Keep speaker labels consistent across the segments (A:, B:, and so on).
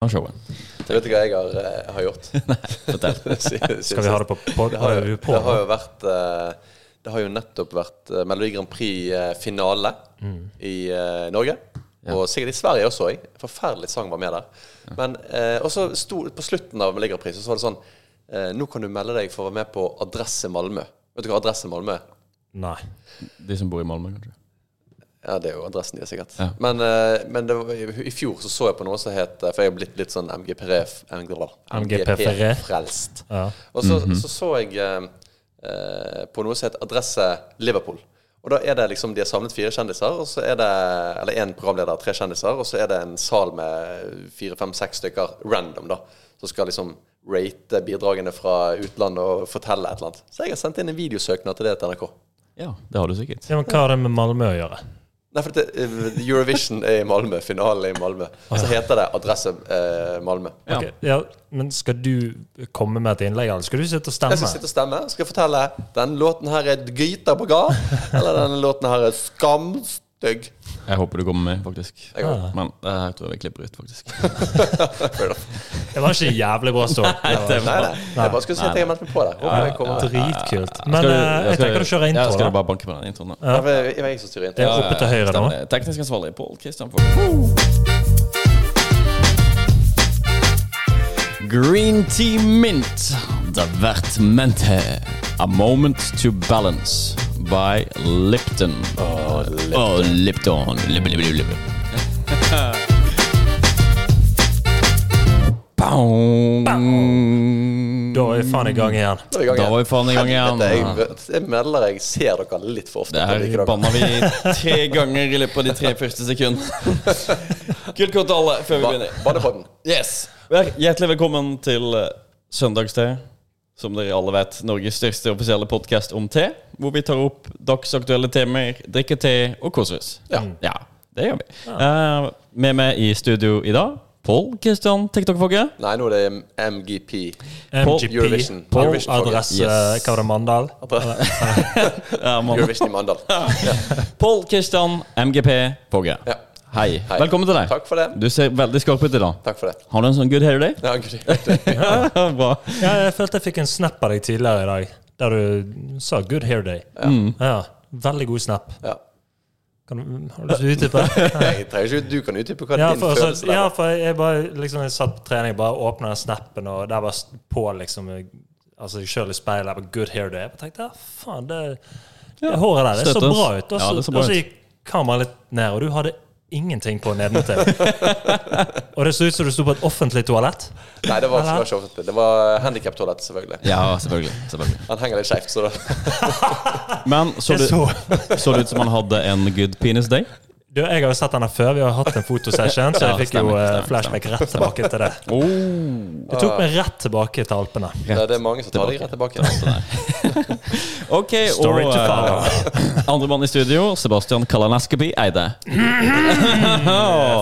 A: av showet.
B: Jeg vet ikke hva jeg har, eh, har gjort.
C: Skal vi ha det på pod?
B: Det har,
C: Er vi
B: jo-
C: på
B: det har
C: nå?
B: jo vært eh, Det har jo nettopp vært eh, Melodi Grand Prix-finale
C: Mm.
B: i eh, Norge. Og sikkert i Sverige også. Jeg. Forferdelig sang var med der. Men eh, Og så sto på slutten av Melodi Grand Prix så var det sånn eh, Nå kan du melde deg for å være med på Adresse Malmö. Vet du hva Adresse Malmö er?
C: Nei.
A: De som bor i Malmö, kanskje.
B: Ja, det er jo adressen de er sikkert.
A: Ja.
B: Men, eh, men det var, i i fjor så så jeg på noe som het For jeg har blitt litt sånn MGP-frelst.
C: MGP-frelst. Ja.
B: Og så så, så jeg eh, eh, på noe som het Adresse Liverpool. Og da er det liksom, De har samlet fire kjendiser, og så er det, eller én programleder, tre kjendiser, og så er det en sal med fire-fem-seks stykker random da, som skal liksom rate bidragene fra utlandet og fortelle et eller annet. Så jeg har sendt inn en videosøknad til det til NRK.
A: Ja, det har du sikkert.
C: Ja, men hva har det med Malmö å gjøre?
B: Nei, for det, eh, Eurovision er i Malmö, finalen er i Malmö. Så heter det Adresse eh, Malmö.
A: Ja.
C: Ok, ja, men skal du komme med et innlegg, eller skal du sitte og
B: Jeg
C: stemme?
B: skal sitte og stemme. Skal jeg fortelle den låten her er gryta på gard, eller den låten her er skamstygg.
A: Jeg håper du kommer med, faktisk.
B: Jeg går.
A: Men det her tror jeg vi klipper ut, faktisk.
C: Det var ikke jævlig bra stått.
B: Nei, nei. Jeg bare skulle si at jeg har meldt meg på der. Håper jeg kommer.
C: Dritkult. Men eh, jeg tenker du kjører
A: Ja, skal
C: intro,
A: du
C: da.
A: bare banke på den introen, da?
B: Ja, for Jeg jeg var jeg som styrer inn.
C: Det er oppe til høyre nå.
A: Stemmer det. Teknisk ansvarlig Pål Kristian Fogh. Green tea mint. Divertmente. A moment to balance by Lipton. Oh, Lipton. Oh, Lipton. Lip, lip, lip, lip. Bang.
C: Da er vi faen i gang igjen.
B: Da er vi i gang
A: Da
B: igjen.
A: var vi faen i gang igjen.
B: Helvete, Jeg, jeg melder jeg ser dere litt for ofte.
A: Det
B: Jeg
A: her
B: liker dere.
A: banna vi tre ganger i løpet av de tre første sekundene. Kult kort til alle før vi begynner.
B: Ba- Badepodden.
A: Yes. Vær hjertelig velkommen til eh, Søndagste. Som dere alle vet, Norges største offisielle podkast om te. Hvor vi tar opp dagsaktuelle temaer, drikker te og koser oss.
B: Ja.
A: Ja, det gjør vi. Eh, med meg i studio i dag, Pål Kristian TikTok-Fogge.
B: Nei, nå er det MGP. Eurovision.
C: MGP. På
B: Eurovision,
C: adresse
A: yes.
C: Hva var det, Mandal?
A: Ja, mann.
B: Eurovision i Mandal.
A: Pål Kristian MGP Fogge.
B: Ja.
A: Hei.
B: Hei.
A: Velkommen til deg.
B: Takk for det.
A: Du ser veldig skarp ut i dag.
B: Takk for det.
A: Har du en sånn good hair day?
B: Ja, gud,
A: Bra.
C: Ja, jeg følte jeg fikk en snap av deg tidligere i dag, der du sa 'good hair day'.
A: Mm.
C: Ja, Veldig god snap.
B: ja.
C: Kan du, har du lyst til å utdype?
B: Jeg trenger ikke ut. Du kan utdype hva
C: Ja,
B: din
C: for,
B: følelse
C: altså,
B: er.
C: ja, for jeg bare liksom, jeg satt på trening, bare åpna snappen, og der var st- på liksom Altså sjøl i speilet, jeg bare, good hair day. Jeg bare tenkte ja, faen, det, det håret der det så
A: støtter oss.
C: bra ut. Og
A: Ja,
C: så,
A: det så bra
C: og så
A: ut.
C: gikk kameraet litt ned, og du hadde ingenting på nedentil. og det så ut som du sto på et offentlig toalett.
B: Nei, det var, det var ikke offentlig. Det var handikaptoalett, selvfølgelig.
A: Ja, selvfølgelig. selvfølgelig.
B: Han henger litt skjevt, så da
A: Men så
C: Jeg
A: det,
C: så
A: så det ut som han hadde en good penis day?
C: Du, jeg har jo sett den her før. Vi har hatt en fotosession, så
A: Ja,
C: jeg fikk
A: stemmer,
C: jo eh,
A: stemmer,
C: flashback rett tilbake til det.
A: Oh.
C: Det tok meg rett tilbake til Alpene.
B: Nei, det er mange som tar deg rett tilbake.
A: Ok,
C: Story
A: og
C: to follow.
A: eh, andremann i studio, Sebastian Kalanaskaby Eide.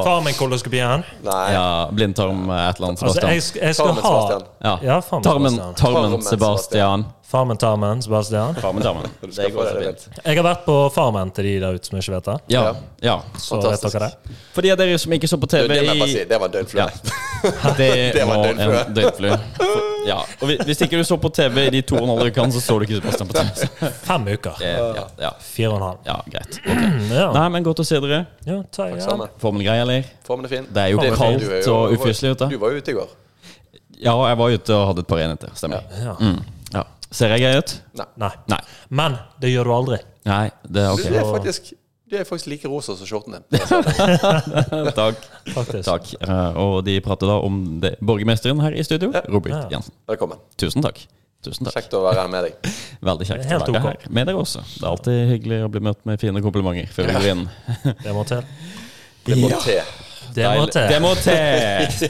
C: Far min koloskopien.
B: Nei.
A: Ja, blindtarm eh, et eller annet,
C: Altså, jeg,
A: Sebastian.
C: sk- jeg skal
B: Tarmen,
C: ha
B: Sebastian.
A: Ja.
C: Ja, faen,
A: Tarmen,
C: Sebastian.
A: tarmen,
B: Tarmen,
A: Sebastian.
C: Farmen, tarmen, Sebastian.
A: Tarmen, tarmen.
B: Du skal
A: Det
B: få
A: går så
B: det,
A: fint.
C: Jeg har vært på farmen til de der ute som ikke vet det.
A: Ja, ja.
C: Så vet
B: Fantastisk.
C: dere det.
A: For de av dere som ikke så på
B: Du,
A: TV
B: det må jeg bare
A: i
B: si. Det var en døgnflue.
A: Ja. Det,
B: Det var
A: var
B: en døgnflue.
A: en døgnflue. For- Ja. Og hvis- hvis ikke du så på TV i de to og en halv ukene, så så du ikke Sebastian på TV. Så,
C: Fem uker.
A: eh, ja, ja,
C: Fire og en halv. Mm,
A: ja, greit. Ok.
C: Ja,
A: Nei, men godt å se dere.
C: ja, ta, ja.
B: Samme.
A: Formel grei, eller?
B: Formen er fin.
A: Det er jo
B: fint.
A: kaldt
B: Du er
A: og ufyselig ute.
B: Du var jo ute i går.
A: Ja, jeg var ute og hadde et par enheter. Stemmer.
C: Ja.
A: Mm. Ja. Ser jeg grei ut?
C: Nei.
A: Nei.
C: Men det gjør du aldri.
A: Nei, det er
B: Du,
A: ok.
B: du, er faktisk, du er faktisk like rosa som skjorten din.
A: Takk.
C: Faktisk.
A: takk. Eh, Og de prater da om det. borgermesteren her i studio, Robert
C: Ja.
A: Jensen.
B: Velkommen.
A: Tusen takk. Tusen takk.
B: Kjekt å være her med deg.
A: Veldig kjekt å
C: Helt
A: være
C: ok.
A: her med dere også. Det er alltid hyggelig å bli møtt med fine komplimenter før vi går inn.
C: Det må til.
B: Det må te.
C: Det må
A: Deilig. Det
C: til.
A: må til!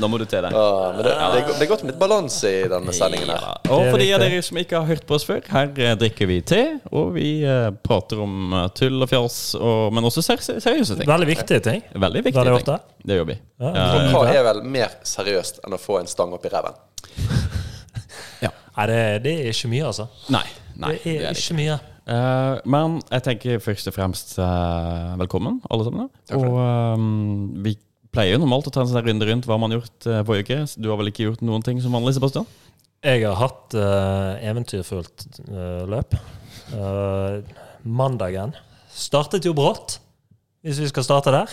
A: Nå må du til det.
B: Ja, men det, det, er go- det er godt med litt balanse i denne sendingen her.
A: Ja. Og
C: Det er
A: for de av
C: riktig.
A: dere som ikke har hørt på oss før, her eh, drikker vi te, og vi eh, prater om eh, tull og fjas, og, men også ser seriøse ting.
C: Veldig viktige ting.
A: Veldig viktige
C: Veldig
A: ting.
C: ofte.
A: Det gjør vi.
C: Ja.
A: Eh,
B: Og hva er vel mer seriøst enn å få en stang opp i ræven?
C: Nei, det, det er ikke mye, altså.
A: nei. nei
C: Det er
A: det. ikke.
C: ikke mye.
A: Eh, men jeg tenker først og fremst eh, velkommen, alle sammen. Og eh, vi
D: pleier jo normalt å ta en sånn der runde rundt hva man har gjort eh, forrige uke. Du har vel ikke gjort noen ting som vanlig, Sebastian?
C: Jeg har hatt eh, eventyrfullt eh, løp. Eh, mandagen startet jo brått, hvis vi skal starte der.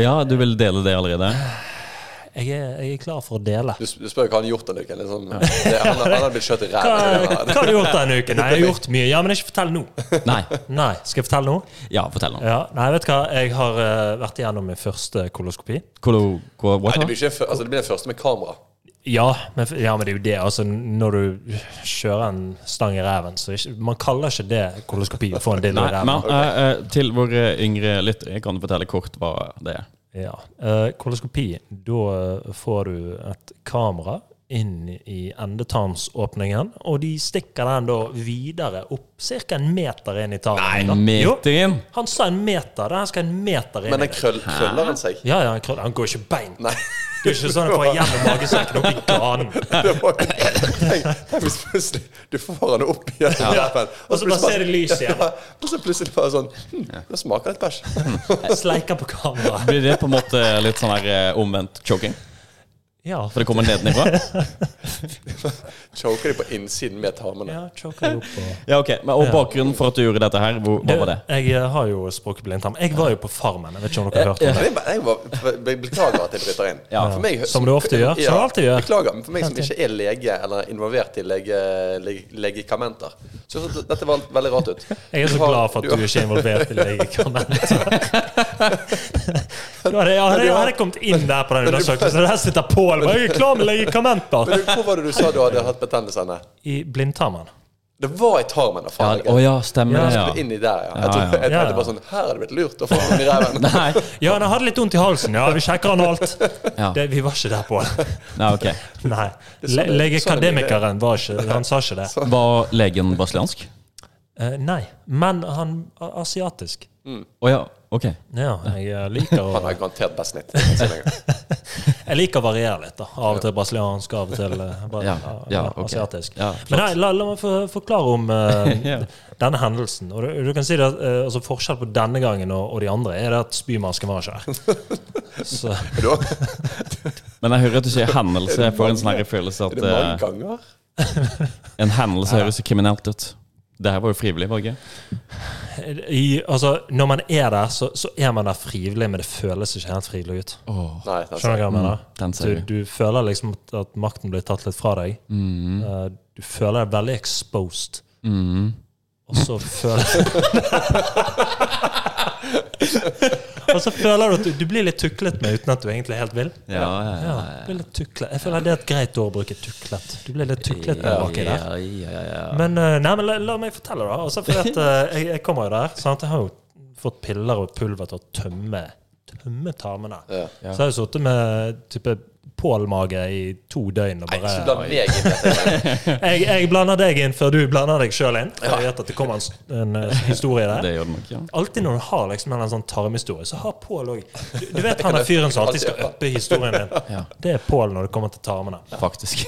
D: Ja, du vil dele det allerede?
C: Jeg er, jeg er klar for å dele.
B: Du, sp- du spør jo hva han har gjort denne uken. Liksom. Det, han, han hadde blitt skjøtt i
C: Hva, hva
B: ræva.
C: har du gjort denne uken? Nei, jeg har gjort mye. Ja, men ikke fortell nå.
D: Nei.
C: Nei, skal jeg fortelle nå?
D: Ja, fortell nå.
C: Ja, nei, vet du hva? Jeg har eh, vært igjennom min første koloskopi.
D: Kolo, ko, what
B: Nei, det
D: da?
B: blir, ikke, en fø- altså, det blir den første med kamera.
C: Ja men, f- ja, men det er jo det. Altså, når du kjører en stang i ræven, så ikke, Man kaller ikke det koloskopi å få en dildo
D: Nei,
C: i ræven.
D: men eh, eh, til våre yngre lyttere kan du fortelle kort hva det er.
C: Ja. Eh, koloskopi, da eh, får du et kamera inn i endetarmsåpningen, og de stikker den da videre opp ca. en meter inn i tarmen. da. Jo,
D: Meteren!
C: han sa en meter. Den her skal en meter inn
B: Men
C: i
B: den krøll, krøller han seg.
C: det. Ja, ja, han, krøll- han går ikke beint.
B: Nei.
C: Det er ikke sånn at han får gjennom magesekken opp i ganen.
B: Det var, tenk, tenk hvis plutselig du får han opp igjen. Og
C: Og så bare ser det lys igjen.
B: Ja, og så plutselig bare sånn hm, Det smaker litt bæsj.
C: Sleiker på kameraet.
D: Blir det på en måte litt sånn her eh, omvendt choking?
C: Ja,
D: For det kommer nedenifra?
B: Choker de på innsiden med tarmene.
C: ja choker opp og
D: Ja, ok. Men, og bakgrunnen for at du gjorde dette her, hvor, hva var det? Eh,
C: Jeg eh, har jo språket blindtarm. Jeg var jo på Farmen. Jeg vet ikke om dere har hørt om det.
B: Jeg, bare- jeg, var- jeg beklager at jeg bryter inn.
D: Ja.
B: For meg-
C: Som du ofte gjør, som du alltid gjør.
B: Beklager, men for meg som ikke er lege eller er involvert i lege, lege, legekamenter, så så dette var veldig rart ut.
C: Jeg er så
B: Du har-
C: glad for at du ikke er involvert i legekamenter.
B: Men
C: Da hadde jeg,
B: du
C: hadde,
B: har-
C: hadde jeg kommet inn der på den
B: men du-
C: undersøkelsen. Der sitter Pål og jeg er klar med legekamenter!
B: Men du, hvor var det du sa du hadde hatt betennelse? Anne?
C: I blindtarmen.
B: Det var i tarmen.
D: Ja,
B: da, faen.
D: Å ja, stemmer
B: Jeg skulle
D: det, ja.
B: inn i der, ja. Jeg,
D: Ja,
B: trodde, jeg
C: ja.
B: tenkte bare sånn Her er det blitt lurt å få den i ræven.
D: Nei,
C: Ja, den hadde litt vondt i halsen. Ja, vi sjekker han alt.
D: Ja.
C: Det, vi var ikke der, Pål.
D: Nei ok.
C: Nei.
B: Det sa
C: Le
B: det- sa det mye, det.
C: Legekademikeren var ikke Han sa ikke det.
D: Var legen brasiliansk?
C: Eh, nei. Men han er asiatisk.
D: Å ja, ok.
C: Ja, jeg eh, liker å
B: Han har garantert best snitt.
C: Jeg liker å variere litt. da Av og til brasiliansk, av og til eh, bare,
D: Ja, ja,
C: ja,
D: ok.
C: asiatisk.
D: Ja,
C: Men nei, la, la meg få- forklare om eh,
D: Ja.
C: denne hendelsen. Og du, du kan si det at eh, altså Forskjell på denne gangen og, og de andre er det at spymasken var ikke her. Så,
B: Er det,
D: Men jeg hører at du sier hendelse. Jeg får en sånn her følelse
B: er det mange
D: at eh,
B: ganger?
D: en hendelse høres kriminelt ut. Det her var jo frivillig, var det ikke?
C: i, altså, når man er der, så, så er man der frivillig, men det føles ikke helt frivillig ut.
B: Nei, altså,
C: Skjønner du hva jeg mener?
D: Mm, Den
C: Du,
D: ser du.
C: du føler liksom at- at makten blir tatt litt fra deg.
D: Mm,
C: Eh, du føler deg veldig exposed. Og så føler Og så føler du at du, du blir litt tuklet med uten at du egentlig helt vil.
D: Ja, ja, ja.
C: Ja, du blir litt tuklet. Jeg føler det er et greit ord å bruke 'tuklet'. Du blir litt tuklet med baki der.
D: ja, ja, ja.
C: Men, eh, nei, men la, la meg fortelle, da. Altså, for at, eh, jeg, jeg kommer jo der. Sant? Jeg har jo fått piller og pulver til å tømme, tømme tarmene.
B: Ja.
C: Så jeg har jo sittet med type Pål-mage i to døgn og
B: Så blant
C: bare
B: meg inn i dette.
C: jeg, jeg blander deg inn før du blander deg sjøl inn. For jeg vet at det kommer en, s- en eh, historie der.
D: Det gjør det nok, ja.
C: Alltid når du har liksom en eller annen sånn tarmhistorie, så har Pål òg du, du vet han er fyren som alltid skal uppe historien din.
D: Ja.
C: Det er Pål når det kommer til tarmene.
D: Faktisk.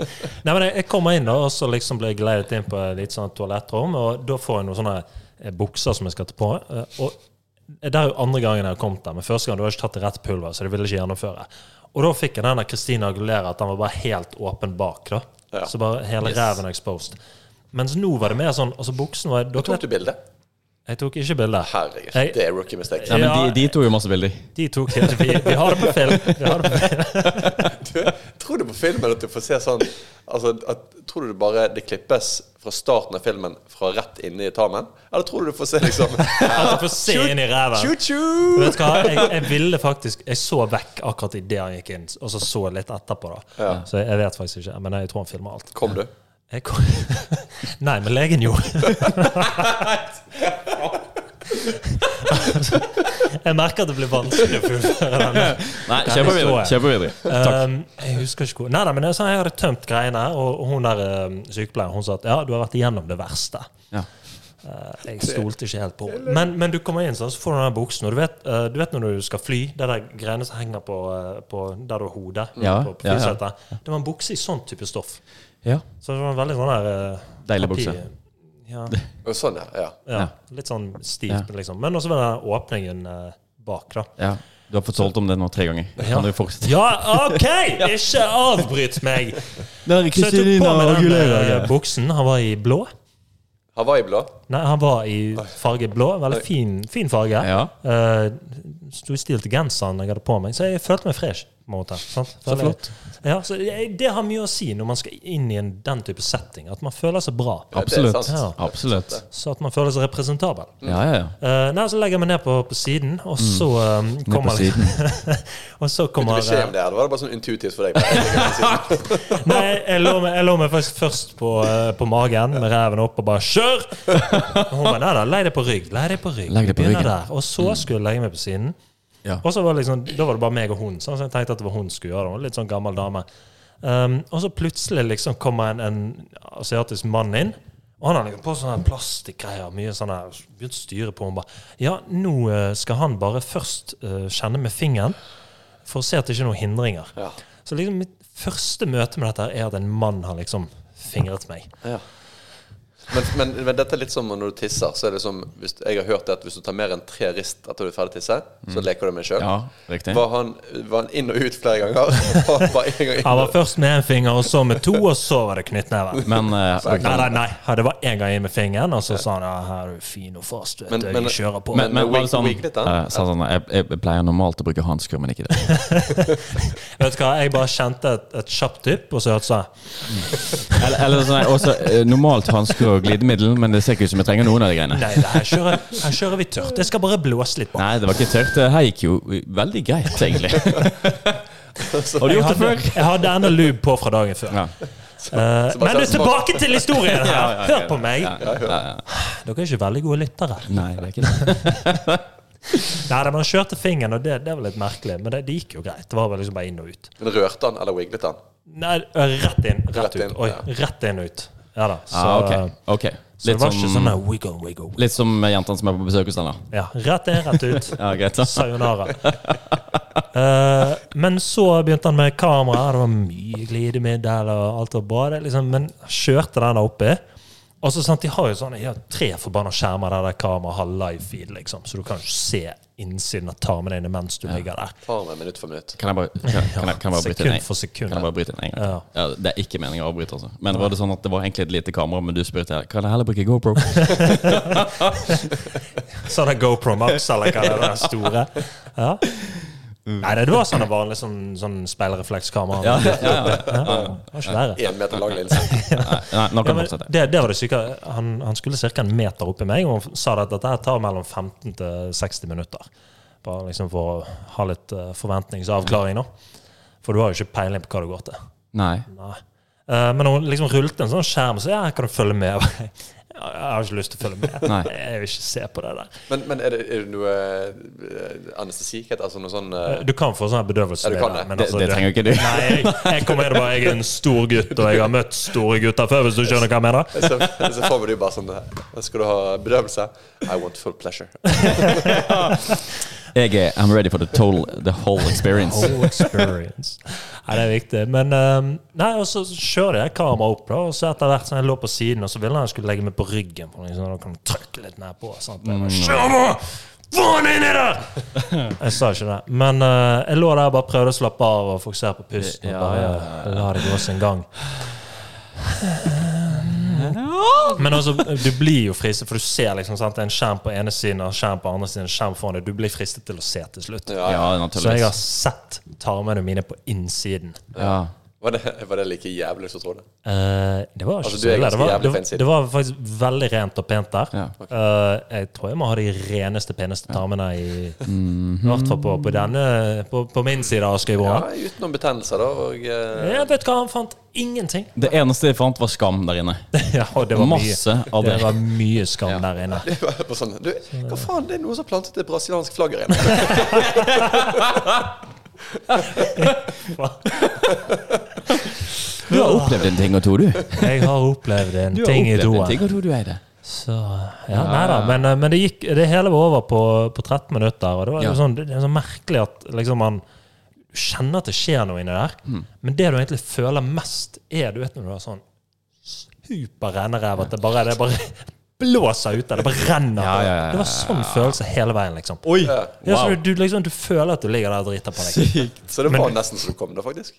C: Nei, men jeg, jeg kommer inn da, og så liksom blir jeg gledet inn på et litt sånn toalettrom, og da får jeg noen sånne eh, bukser som jeg skal ta på. eh, Og det er jo andre gangen jeg har kommet der, men første gang du har jeg ikke tatt det rett pulver, så det ville jeg ikke gjennomføre. Og da fikk jeg den av Christina Aguilera, at den var bare helt åpen bak, da.
B: Ja.
C: Så bare hele
B: Yes.
C: ræven exposed. Mens nå var det mer sånn, altså buksen var, dere
B: Tok
C: vet,
B: du bilde?
C: jeg tok ikke bilder.
B: Herregud,
C: Nei.
B: det er rookie mistake.
D: Nei, men
C: Ja.
D: de, de tok jo masse bilder.
C: De tok helt, vi, vi har det på film. Vi har det på film.
B: Du, tror du på filmen at du får se sånn altså, at, Tror du det bare det klippes fra starten av filmen fra rett inne i tarmen? Eller tror du du får se liksom
C: At jeg får se inn i ræven.
B: Tju-tju!
C: Vet du hva? Jeg, jeg ville faktisk Jeg så vekk akkurat idet han gikk inn, og så så jeg litt etterpå. da Så jeg, jeg vet faktisk ikke, men jeg tror han filmer alt.
B: Kom, du.
C: Jeg kom... Nei, men legen gjorde Jeg merker at det blir vanskelig å fullføre denne.
D: Nei, kjør på videre. Kjør på videre.
C: Um, jeg husker ikke hvor Nei, nei, men jeg, sa jeg hadde tømt greiene, og og hun der um, sykepleieren hun sa at ja, du har vært igjennom det verste.
D: Ja.
C: Eh, Jeg stolte ikke helt på henne. Men, men du kommer inn sånn, så får du den der buksen. Og du vet, eh, du vet når du skal fly, det der greiene som henger på, eh, på der du har hodet
D: Ja,
C: på, på
D: ja, ja.
C: flysetet, Det var en bukse i sånn type stoff.
D: ja.
C: Så det var en veldig sånn der eh,
D: Deilig
C: papir-
D: bukse.
C: Ja,
B: Og sånn, ja. ja.
C: ja, litt sånn stivt,
D: Ja.
C: liksom. Men også med den åpningen eh, bak, da.
D: ja. Du har fått solgt om det nå tre ganger.
C: Ja.
D: Kan du fortsette?
C: Ja, OK! Ikke avbryt meg!
D: Der,
C: Så jeg tok på meg den eh, buksen. Han var i blå.
B: Hawaii-blå.
C: Nei, han var i farge blå. Veldig fin, fin farge.
D: Ja.
C: Eh, Sto i stil til genseren jeg hadde på meg, så jeg følte meg fresh. på en måte, sant?
D: Så flott.
C: Ja, så jeg- det har mye å si når man skal inn i en, den type setting. At man føler seg bra.
B: Det er
D: Absolutt.
B: sant.
D: Absolutt.
C: Så at man føler seg representabel.
D: Ja, ja, ja.
C: Eh, nei, Så legger jeg meg ned på, på siden, og så eh,
D: Mm. Ned på
C: kommer
D: siden.
C: Og så
B: Fikk du
C: kommer
B: beskjed om det? her? Det var bare sånn intuitivt for deg.
C: Nei, jeg lå meg, jeg lå meg faktisk først på, eh, på magen med reven opp og bare 'kjør'! Og hun bare 'nei da, legg deg på rygg'. Legg deg på rygg.
D: Legg deg på
C: Vi begynner
D: ryggen. Mm.
C: Der. Og så skulle jeg legge meg på siden.
D: Ja.
C: Og så var det liksom, Da var det bare meg og hun. Sånn, så jeg tenkte at det var hun som skulle gjøre det. Hun var Litt sånn gammel dame. Um, og så plutselig liksom kommer en, en asiatisk mann inn. Og han har liksom på sånne plastikkgreier. mye sånne, Begynt å styre på. Hun bare 'ja, nå eh, skal han bare først eh, kjenne med fingeren' for å se at det ikke er noen hindringer.
B: Ja.
C: Så liksom mitt første møte med dette her er at en mann har liksom fingret meg.
B: Ja. Men, men, men dette er litt som når du tisser. Så er det som, hvis, jeg har hørt det at hvis du tar mer enn tre rist etter du er ferdig å tisse, så leker du med deg sjøl.
D: Ja, riktig.
B: Var, han- var han inn og ut flere ganger? Var han bare en gang inn
C: Han var
B: og-
C: først med én finger, og så med to, og så var det knyttneven.
D: Men eh,
C: Nei, nei, nei. Ja, Det var én gang inn med fingeren, og så sa han ja, her er du fin og fast, vet
B: Men-
C: du,
B: men-
C: jeg kjører på.
D: men, men var det sånn,
B: Wiglet, da?
D: eh, sa sånn jeg, jeg pleier normalt å bruke hansker, men ikke det.
C: vet du hva, jeg bare kjente et, et kjapt dypp, og så hørte jeg
D: Eller, eller sånn jeg, også, eh, Normalt hansker og glidemiddel, men det ser ikke ut som jeg trenger noen av de greiene.
C: Nei, det her kjører, her kjører vi tørt. Jeg skal bare blåse litt på.
D: Nei, det var ikke tørt. Det her gikk jo veldig greit, egentlig. Har du
C: Jeg
D: gjort det
C: hadde,
D: før?
C: jeg hadde ennå lube på fra dagen før.
D: Ja.
C: Eh,
B: så bare
C: men du,
B: kjører små-
C: tilbake til historien her!
D: ja, ja,
C: Hør
D: ja.
C: på meg.
D: Ja, ja.
C: Dere er ikke veldig gode lyttere.
D: Nei, det er ikke det.
C: Nei, men han kjørte fingeren, og det, det var litt merkelig. Men det, det gikk jo greit. Det var vel liksom bare inn og ut.
B: Men Rørte han, eller wiglet han?
C: Nei, rett inn, rett,
B: Rett
C: ut.
B: inn,
C: Oi,
B: ja.
C: rett inn og ut. Ja da. Så,
D: Ah, ok. ok.
C: så det
D: Litt,
C: var ikke sånn
D: som,
C: der wiggle, wiggle.
D: litt som jentene som er på besøk hos deg, da.
C: Ja, rett inn, rett ut.
D: Ja, greit. da.
C: Sayonara. Eh, men så begynte han med kamera, det var mye glidemiddel og alt var bra. Det, liksom, men kjørte den oppi. Og så sant, De har jo sånne, de har tre forbanna skjermer der det kameraet har live feed, liksom. Så du kan jo ikke se innsiden av tarmene dine mens du ligger der.
B: Faen meg minutt for minutt.
D: Kan jeg bare, kan, kan jeg, kan jeg bare bryte inn?
C: Sekund for sekund.
D: Kan jeg bare bryte inn en gang? Ja, det er ikke meningen å avbryte, altså. Men var det sånn at det var egentlig et lite kamera, men du spurte jeg, kan jeg heller bruke GoPro?
C: Sånn der GoPro Max, eller hva det er, den store. Ja. Nei, det var sånn vanlig sånn, sånn speilreflekskamera.
D: Ja, ja, ja.
C: Ja, det var ikke verre.
B: Én meter lang linse.
D: Nei, nei, nå
C: Ja,
D: kan vi
C: men
D: fortsette.
C: det, det var det syke. Han, han skulle ca. en meter oppi meg, og han sa det at dette her tar mellom 15 til 60 minutter. Bare liksom for å ha litt eh, forventningsavklaring nå. For du har jo ikke peiling på hva det går til.
D: Nei.
C: Nei. Eh, men hun liksom rullet en sånn skjerm, så ja, her kan du følge med. Jeg har ikke lyst til å følge med.
D: Nei.
C: Jeg vil ikke se på det der.
B: Men, men er, det, er det noe eh, anestesi? hva heter det? Altså noe sånn eh,
C: Du kan få sånn bedøvelse.
B: Ja, du kan det.
D: Det, det trenger jo ikke du.
C: Nei, jeg, jeg kommer inn og bare Jeg er en stor gutt, og jeg har møtt store gutter før, hvis du skjønner hva jeg mener.
B: Så, så får vi det jo bare sånn eh, Skal du ha bedøvelse? I want full pleasure.
D: Jeg er I'm ready for the total, the whole experience.
C: Whole experience. Nei, det er viktig. Men ehm, Nei, og så kjører jeg kameraet opp, da, og så etter hvert som jeg lå på siden, og så ville han jeg skulle legge meg på ryggen, for liksom, da kan du trykke litt ned på. Sant? Jeg
D: Mm.
C: bare, Kjør nå! Få han inni der! Jeg sa ikke det. Men eh, jeg lå der og bare prøvde å slappe av og fokusere på pusten.
D: Ja,
C: og bare La det gå sin gang. Men altså, du blir jo fristet, for du ser liksom sant, det er en skjerm på ene siden og en skjerm på andre siden. en skjerm foran deg. Du blir fristet til å se til slutt.
B: Ja,
D: Ja,
B: ja.
C: Oh, Så jeg har
D: naturligvis.
C: sett tarmene mine på innsiden.
D: Ja.
B: Var, det, var det like jævlig som du trodde?
C: Eh, det var ikke
B: Altså, du
C: så
B: er
C: ille. Det
B: ganske
C: var,
B: jævlig
C: det,
B: på innsiden.
C: det var faktisk veldig rent og pent der.
D: Ja.
C: Eh, jeg tror jeg må ha de reneste, peneste tarmene i
D: Mhm.
C: I hvert fall på, på denne på, på min side av
B: Ja,
C: skrivebordet.
B: Utenom betennelser, da. Og eh,
C: Jeg vet hva, han fant ingenting.
D: Det eneste jeg fant, var skam der inne.
C: ja, og det var
D: Masse
C: mye,
D: av det.
C: det var mye skam der inne.
B: det var bare sånn Du, hva faen, det er noen som har plantet et brasiliansk flagg her inne.
D: Du har opplevd en ting og to, du. Du
C: Jeg har opplevd en
D: har
C: ting i
D: opplevd en
C: doen.
D: ting og to, du, Eide.
C: Så, ja, nei da, men, eh, men det gikk Det hele var over på, på 13 minutter, og det var jo
D: Ja.
C: sånn, det er så merkelig at liksom man du kjenner at det skjer noe inni der,
A: Mm.
C: men det du egentlig føler mest, er du vet når du har sånn superrene ræv at det bare, det bare blåser ut der. Det bare renner.
A: Ja, ja, ja, ja,
C: Det var sånn følelse hele veien, liksom.
D: Oi!
C: Ja, så
D: Wow.
C: du, du, liksom, du føler at du ligger der og driter på deg.
B: Så det var nesten så du kom, da, faktisk.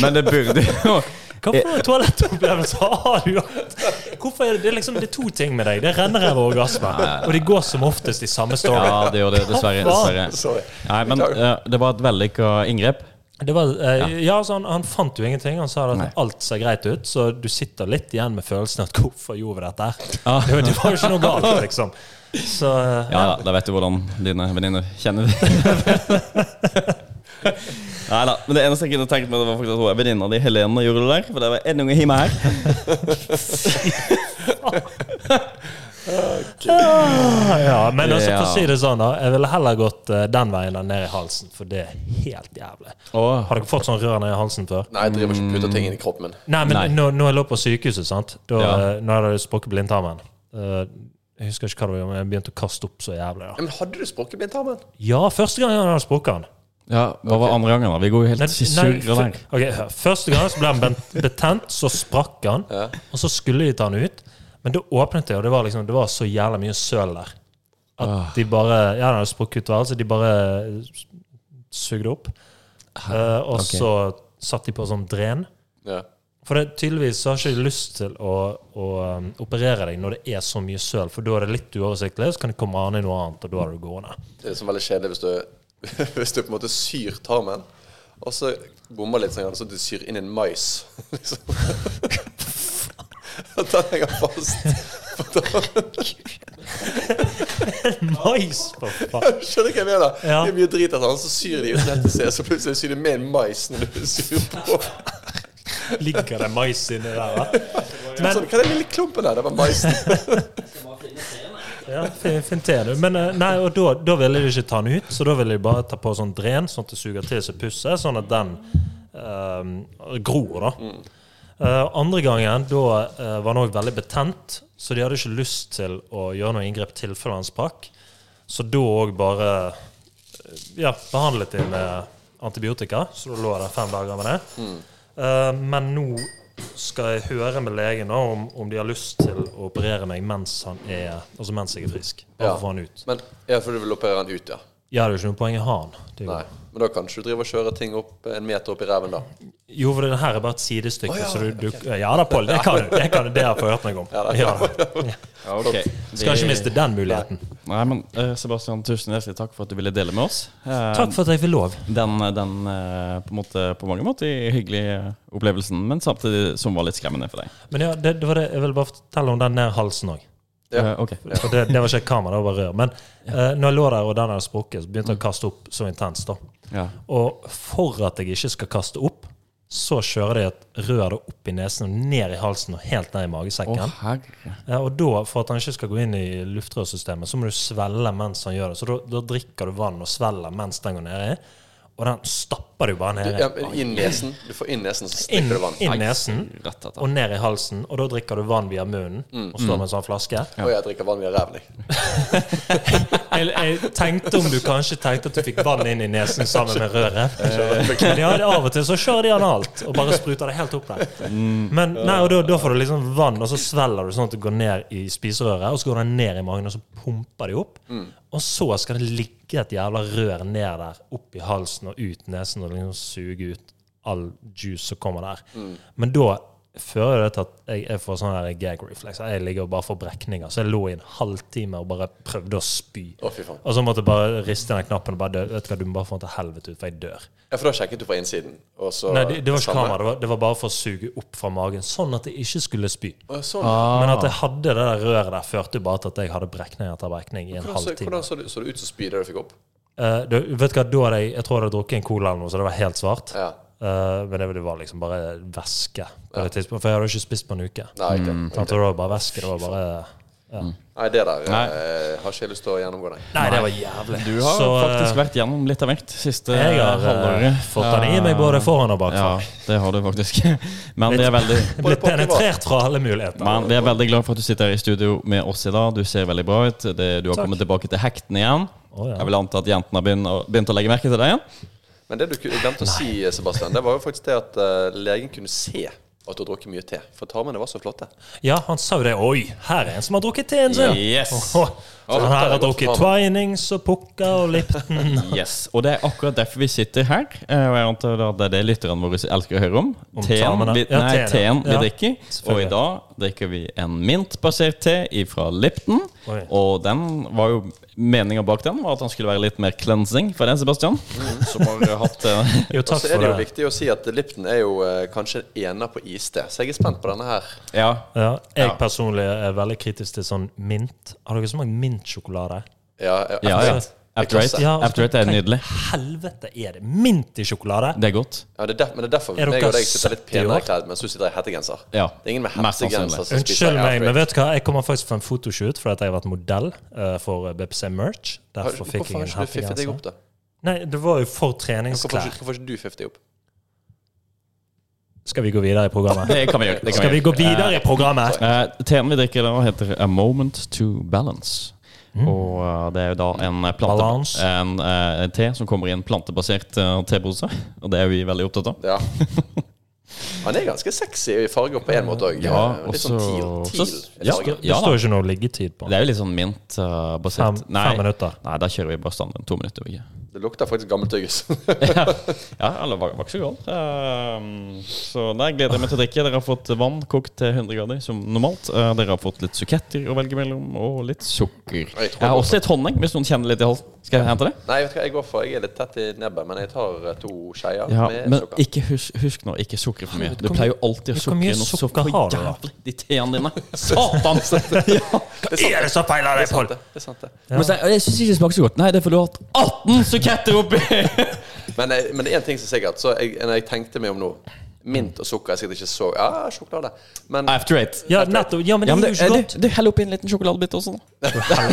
A: Men det burde jo
C: Hva for noen toalettopplevelse har du hatt? Hvorfor er det, det, er liksom, det er to ting med deg. Det renner ræv og orgasme. Og de går som oftest i samme story.
A: Ja, det gjorde det, dessverre. dessverre.
B: Sorry.
A: Nei, men eh, det var et vellykka inngrep.
C: Det var, eh, ja, altså, han, han fant jo ingenting. Han sa at
A: Nei.
C: alt ser greit ut, så du sitter litt igjen med følelsen at 'hvorfor gjorde vi dette?' her?
A: Ja.
C: Det, var- det var jo ikke noe galt, liksom. Så eh,
A: Ja, da, da vet du hvordan dine venninner kjenner det. Nei da. Men det eneste jeg kunne tenkt meg, Det var faktisk at hun er venninna di, Helene, gjorde det der. For det var en unge hjemme her.
C: ah, ja, Men altså, for å
A: Ja.
C: si det sånn, da. Jeg ville heller gått eh, den veien enn ned i halsen, for det er helt jævlig.
A: Åh.
C: Har dere fått sånn rør ned i halsen før?
B: Nei, jeg driver ikke og putter ting inn i kroppen min.
C: Nei, men
A: Nei.
C: Når, når jeg lå på sykehuset, sant da,
A: Ja.
C: eh, Når jeg hadde sprukket blindtarmen eh, Jeg husker ikke hva det var, men jeg begynte å kaste opp så jævlig.
B: Ja,
C: da
B: men hadde du sprukket blindtarmen?
C: Ja, første gang jeg hadde sprukket den.
A: Ja, Hva var andre gangen? da? Vi går jo helt surra
C: fyr-
A: der.
C: ok, hør. Første gang så ble den bent- betent, så sprakk den. Og så skulle de ta den ut, men da åpnet jeg, og det var, liksom, det var så jævla mye søl der. At de bare Ja, den hadde sprukket ut, vel, så de bare sugde opp. Eh, og
A: ok.
C: så satt de på sånn dren.
B: Ja.
C: For det, tydeligvis så har ikke de lyst til å, å um, operere deg når det er så mye søl, for da er det litt uoversiktlig, så kan det komme an i noe annet, og da er du gående.
B: Det er liksom veldig kjedelig hvis du, hvis du på en måte syr tarmen, og så bommer litt sånn, så du syr inn en mais. Liksom. Og Den henger fast.
C: Mais, for faen!
B: Skjønner du hva jeg mener?
C: Ja.
B: Det er mye drit av sånn, så syr de uten helt å se, så plutselig syr de med en mais når du syr på.
C: Ligger det mais inni der, da? Men,
B: Sånn, hva er den lille klumpen der? Det var maisen.
C: ja, fin- fin te, du. Men eh, nei, og da, da ville de ikke ta den ut, så da ville de bare ta på sånn dren, sånn at det suger til seg pusset, sånn at den eh, gror, da. Eh, andre gangen, da eh, var den òg veldig betent, så de hadde ikke lyst til å gjøre noe inngrep tilfelle han sprakk. Så da òg bare eh, ja, behandlet de med antibiotika, så da lå jeg der fem dager med det. Eh, men nå skal jeg høre med legen da, om, om de har lyst til å operere meg mens, han er, altså mens jeg er frisk.
B: Ja.
C: Bare for å få han ut.
B: Men ja, for du vil operere den ut, ja.
C: Jeg hadde jo ikke noe poeng i å ha han. Det er jo-
B: Nei. Men da kan ikke du drive og kjøre ting opp en meter opp i reven, da.
C: Jo, for det her er bare et sidestykke. så du, du, ja da, Pål, det kan du. Det, kan du, det har jeg hørt meg om. Ja, da.
A: Ok.
C: Skal ikke miste den muligheten.
A: Nei, men eh, Sebastian, tusen hjertelig takk for at du ville dele med oss. Eh,
C: Takk for at jeg fikk lov.
A: Den, den eh, på, en måte, på mange måter hyggelige opplevelsen, men samtidig som var litt skremmende for deg.
C: Men ja, det, det var det, jeg ville bare fortelle om den ned halsen òg.
B: Ja.
A: Eh, ok.
C: For det, det var ikke et kamera, det var bare rør. Men eh, når jeg lå der og den hadde sprukket, så begynte jeg å kaste opp så intenst. da.
A: Ja.
C: Og for at jeg ikke skal kaste opp, så kjører de et rør da opp i nesen og ned i halsen og helt ned i magesekken.
A: herre.
C: Ja, og da, for at han ikke skal gå inn i luftrørsystemet, så må du svelle mens han gjør det. Så da, da drikker du vann og svelger mens den går nedi, og den stapper du bare nedi.
B: Ja, men inn nesen. Du får inn nesen, så
C: Inn,
B: stikker du vann.
C: inn nesen
A: Rett etter.
C: og ned i halsen, og da drikker du vann via munnen og står med en sånn flaske.
B: Og jeg drikker vann via ræven, jeg.
C: Jeg, jeg tenkte om du kanskje tenkte at du fikk vann inn i nesen sammen med røret. Men ja, det- av og til så kjører de analt og bare spruter det helt opp der. Men
B: Mm.
C: nei, og da, da får du liksom vann, og så svelger du sånn at det går ned i spiserøret, og så går det ned i magen, og så pumper de opp.
B: Mm.
C: Og så skal det ligge et jævla rør ned der, opp i halsen og ut nesen, og liksom suge ut all juice som kommer der.
B: Mm.
C: Men da fører det til at jeg, jeg får sånn der gag reflex. Jeg ligger og bare får brekninger. Så jeg lå i en halvtime og bare prøvde å spy.
B: Å, fy faen.
C: Og så måtte jeg bare riste den knappen og bare dø. Vet du hva, du må bare få den til helvete ut, for jeg dør.
B: Ja, for da sjekket du fra innsiden, og så
C: Nei, det, det var ikke
B: samme.
C: kamera, det var, det var bare for å suge opp fra magen, sånn at jeg ikke skulle spy.
B: Å, Sånn.
A: Ah.
C: Men at jeg hadde det der røret der, førte jo bare til at jeg hadde brekning etter brekning i en
B: Hvordan, så,
C: halvtime.
B: hvordan så, du, så du ut som spy da du fikk opp?
C: Eh, du, vet du hva, da hadde jeg jeg tror jeg hadde drukket en cola eller noe, så det var helt svart.
B: Ja.
C: Eh, men det, det var liksom bare væske på det tidspunktet, for jeg hadde jo ikke spist på en uke.
B: Nei, ok.
C: Sant, og det var bare væske, det var bare ja.
B: Nei, det der
A: Nei.
B: Eh, har ikke jeg lyst til å gjennomgå, nei.
C: Nei, det var jævlig.
A: Du har
C: Så, eh,
A: faktisk vært gjennom litt av hvert siste
C: Jeg har eh,
A: halvåret.
C: fått den i meg både foran og bakfra.
A: Ja, det har du faktisk. Men vi er veldig
C: Jeg ble penetrert fra alle muligheter.
A: men vi er veldig glad for at du sitter her i studio med oss i dag. Du ser veldig bra ut. Det, du har kommet tilbake til hekten igjen.
C: Å, ja.
A: Jeg vil anta at jentene har begynt, å- begynt å legge merke til deg igjen.
B: Men det du ku- glemte å si, Sebastian, det var jo faktisk det at eh, legen kunne se og at du har drukket mye te. For tarmene var så flotte.
C: Ja, han sa jo det. Oi, her er en som har drukket teen sin!
A: Yes.
C: Åhå. Så han her har drukket Twinings og Pukka og Lipton.
A: Yes, og det er akkurat derfor vi sitter her. eh, Og jeg antar da at det er det lytterne våre elsker å høre om.
C: Om
A: Teen
C: tarmene.
A: vi,
C: Ja,
A: nei,
C: teen, ja.
A: teen vi
C: Ja,
A: drikker. Og
C: selvfølgelig.
A: i dag drikker vi en mintbasert te fra Lipton.
C: Oi.
A: Og den var jo meninga bak den var at han skulle være litt mer cleansing for den, Sebastian. Som har eh, hatt eh,
C: Jo,
B: Og
C: takk
B: så er
C: for
B: det jo
C: det.
B: viktig å si at Lipton er jo eh, kanskje en ener på iste, så jeg er spent på denne her.
A: Ja.
C: Ja, jeg
A: Ja.
C: personlig er veldig kritisk til sånn mint. Har dere smakt mintsjokolade?
B: Ja,
A: ja, ja. After Eight
B: ja.
C: Ja,
A: After Eight er nydelig.
C: Helvete er det mint i sjokolade!
B: Mm.
A: Det er godt.
B: ja det er der, men det er derfor
C: Er
B: meg
C: dere
B: og deg sitter litt
C: 70 år?
B: penere kledd mens du sitter i hettegenser.
A: Ja.
B: Det er ingen med
A: Mest sannsynlig.
B: hettegenser som spiser
C: Unnskyld meg,
B: After
C: men
B: Eight.
C: vet du hva? Jeg kommer faktisk fra en fotoshoot fordi at jeg har vært modell eh, for BBC Merch.
B: Har-
C: Derfor fikk
B: Hvorfor har
C: jeg en
B: ikke du fiffet deg
C: hettegenser.
B: opp, da?
C: Nei, det var jo for
B: Hvorfor har
C: treningsklær.
B: ikke- hvorfor har ikke du fiffet deg opp?
C: Skal vi gå videre i programmet?
A: Det kan vi gjøre. Det kan
C: Skal vi gå videre i programmet?
A: Eh, teen vi drikker da, heter A Moment to Balance. Og eh, det er jo da en, eh, plante,
C: Mm. Balance.
A: en eh, en te som kommer i en plantebasert eh, tepose. Og det er vi veldig opptatt av.
B: Ja. Han er ganske sexy i farger på en måte òg.
A: Ja,
B: litt sånn teal.
A: også-
B: teal
A: så-
B: i
A: ja,
B: fargen.
C: Det står ikke noe liggetid på.
A: Det er jo litt sånn mintbasert.
C: Fem, fem minutter.
A: nei, da kjører vi bare standard. To minutter. ikke?
B: Det lukter faktisk gammelt tyggis.
A: Ja, eller var, var ikke så galt. Eh, så nei, gleder jeg meg til å drikke. Dere har fått vann kokt til 100 grader som normalt. Eh, dere har fått litt suketter å velge mellom, og litt sukker.
B: tror
A: Jeg har også litt honning, hvis noen kjenner litt i halsen. Skal jeg hente det?
B: Nei, vet du hva, jeg går for Jeg er litt tett i nebbet, men jeg tar eh, to skeier
A: Ja,
B: med
A: men
B: sukker.
A: ikke husk, husk nå, ikke sukker for mye. Du pleier jo alltid å
C: hvor
A: sukre
C: mye
A: noe så
C: sukker har du da?
A: jævlig i teene dine. Satan! ja.
C: Hva er det som feiler deg, Pål?
B: Det er sant, det.
A: Men så- Jeg syns ikke det smaker så godt. Nei, det er fordi du har hatt 18 suketter oppi!
B: Men, eh, men det er én ting som er sikkert. Så jeg, når jeg tenkte meg om nå Mint og sukker er sikkert ikke så Ja, sjokolade. Men,
A: After eight.
C: Ja, nettopp. Ja, men
A: Ja,
C: det
A: men
C: er jo
A: du,
C: ikke godt.
A: du, du heller oppi en liten sjokoladebit også, da.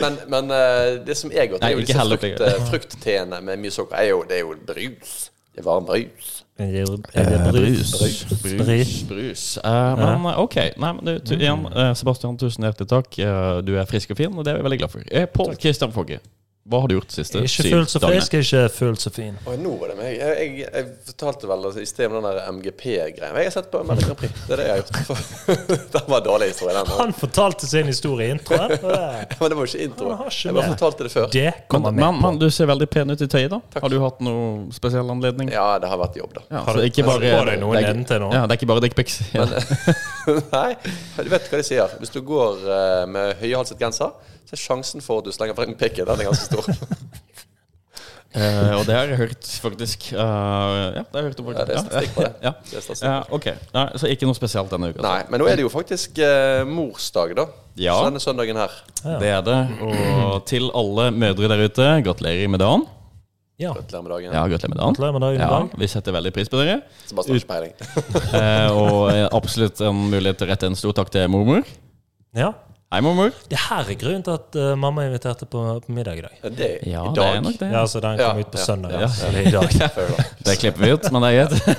B: men, men eh, det som er godt,
A: Nei,
B: er jo
A: ikke
B: disse
A: heller
B: frukt,
A: ikke.
B: eh, fruktteene med mye sukker. Er jo, det er jo brus. Det er varm brus.
C: Jeg gir-
A: Eh,
C: jeg gir brus. Brus.
A: Brus. Eh, men eh, OK. Nei, men du, tu,
B: Mm.
A: igjen, eh, Sebastian, tusen hjertelig takk. Eh, du er frisk og fin, og det er vi veldig glad for. Eh, Pål Kristian Fogge, hva har du gjort de siste
C: Ikke
A: syv
C: fullt så
A: dagene?
C: frisk, ikke fullt så fin.
B: Og nå var det meg. Jeg, jeg, jeg fortalte vel i sted om den der MGP-greia. Jeg har sett på Melodi Grand Prix. Det er det jeg har gjort. For, den var en dårlig historie, den.
C: Han fortalte sin historie i introen. og det-
B: Men det var jo ikke intro. Han har ikke Jeg bare
C: med.
B: fortalte det før.
C: Det kommer
A: Men,
C: med.
A: men, men du ser veldig pen ut i tøyet, da. Har du hatt noen spesiell anledning?
B: Ja, det har vært jobb, da.
A: Ja,
C: Har
A: så
C: du-
A: ikke
C: har
A: bare,
C: du på deg noe
A: det er ikke-
C: nedentil nå?
A: Ja, det er ikke bare dickpics. Ja.
B: Nei, men du vet hva de sier. Hvis du går eh, med høyhalset genser, så er sjansen for at du slenger frem pikken, den er ganske stor.
A: Eh, og det har jeg hørt, faktisk. Eh, ja, det har jeg hørt om,
B: Ja, det er
A: faktisk.
B: statistikk på det.
A: Ja.
B: Det er statistikk.
A: Ja, ok, Nei, Så ikke noe spesielt denne uka.
B: Nei, men nå er det jo faktisk eh, morsdag, da.
A: Ja.
B: Så denne søndagen her.
A: Det er det. Og til alle mødre der ute, gratulerer med dagen.
C: Ja.
B: Gratulerer med dagen.
A: Ja, gratulerer med dagen.
C: Gratulerer med dagen,
A: Ja,
C: Dag.
A: vi setter veldig pris på dere.
B: Sebastian har ikke peiling.
A: Eh, og eh, absolutt en mulighet til å rette en stor takk til mormor.
C: ja.
A: Hei, mormor.
C: Det her er grunnen til at eh, mamma inviterte på, på middag i dag.
B: Det er
A: Ja,
B: i
A: det
B: dag.
A: er nok det.
C: Ja, så den kom
B: Ja,
C: ut på
B: ja,
C: søndag.
A: ja.
C: altså, eller i dag.
B: Fair enough.
A: Det klipper vi ut, men det er greit.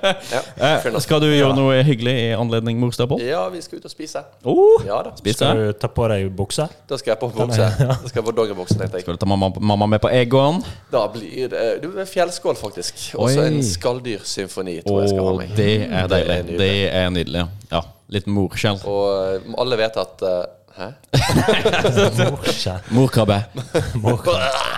B: Ja, fair
A: Eh,
B: enough.
A: skal du gjøre noe hyggelig i anledning morsdag, Pål?
B: ja, vi skal ut og spise.
A: Oh,
B: Ja da.
A: spis
C: Skal
A: det.
C: du ta på deg bukse?
B: Da skal jeg på bukse. Da skal jeg på dongeribukse, tenkte jeg.
A: Skal du ta mamma, mamma med på Egon?
B: Da blir det eh, Du er fjellskål, faktisk. Og så
A: Oi.
B: en skalldyrsymfoni, tror jeg skal ha
A: Og
B: meg.
A: det er deilig.
B: nydelig.
A: Det er nydelig. Ja, litt morskjell.
B: Og eh, alle vet at eh, Hæ?
C: Morskjell.
A: Morkrabbe.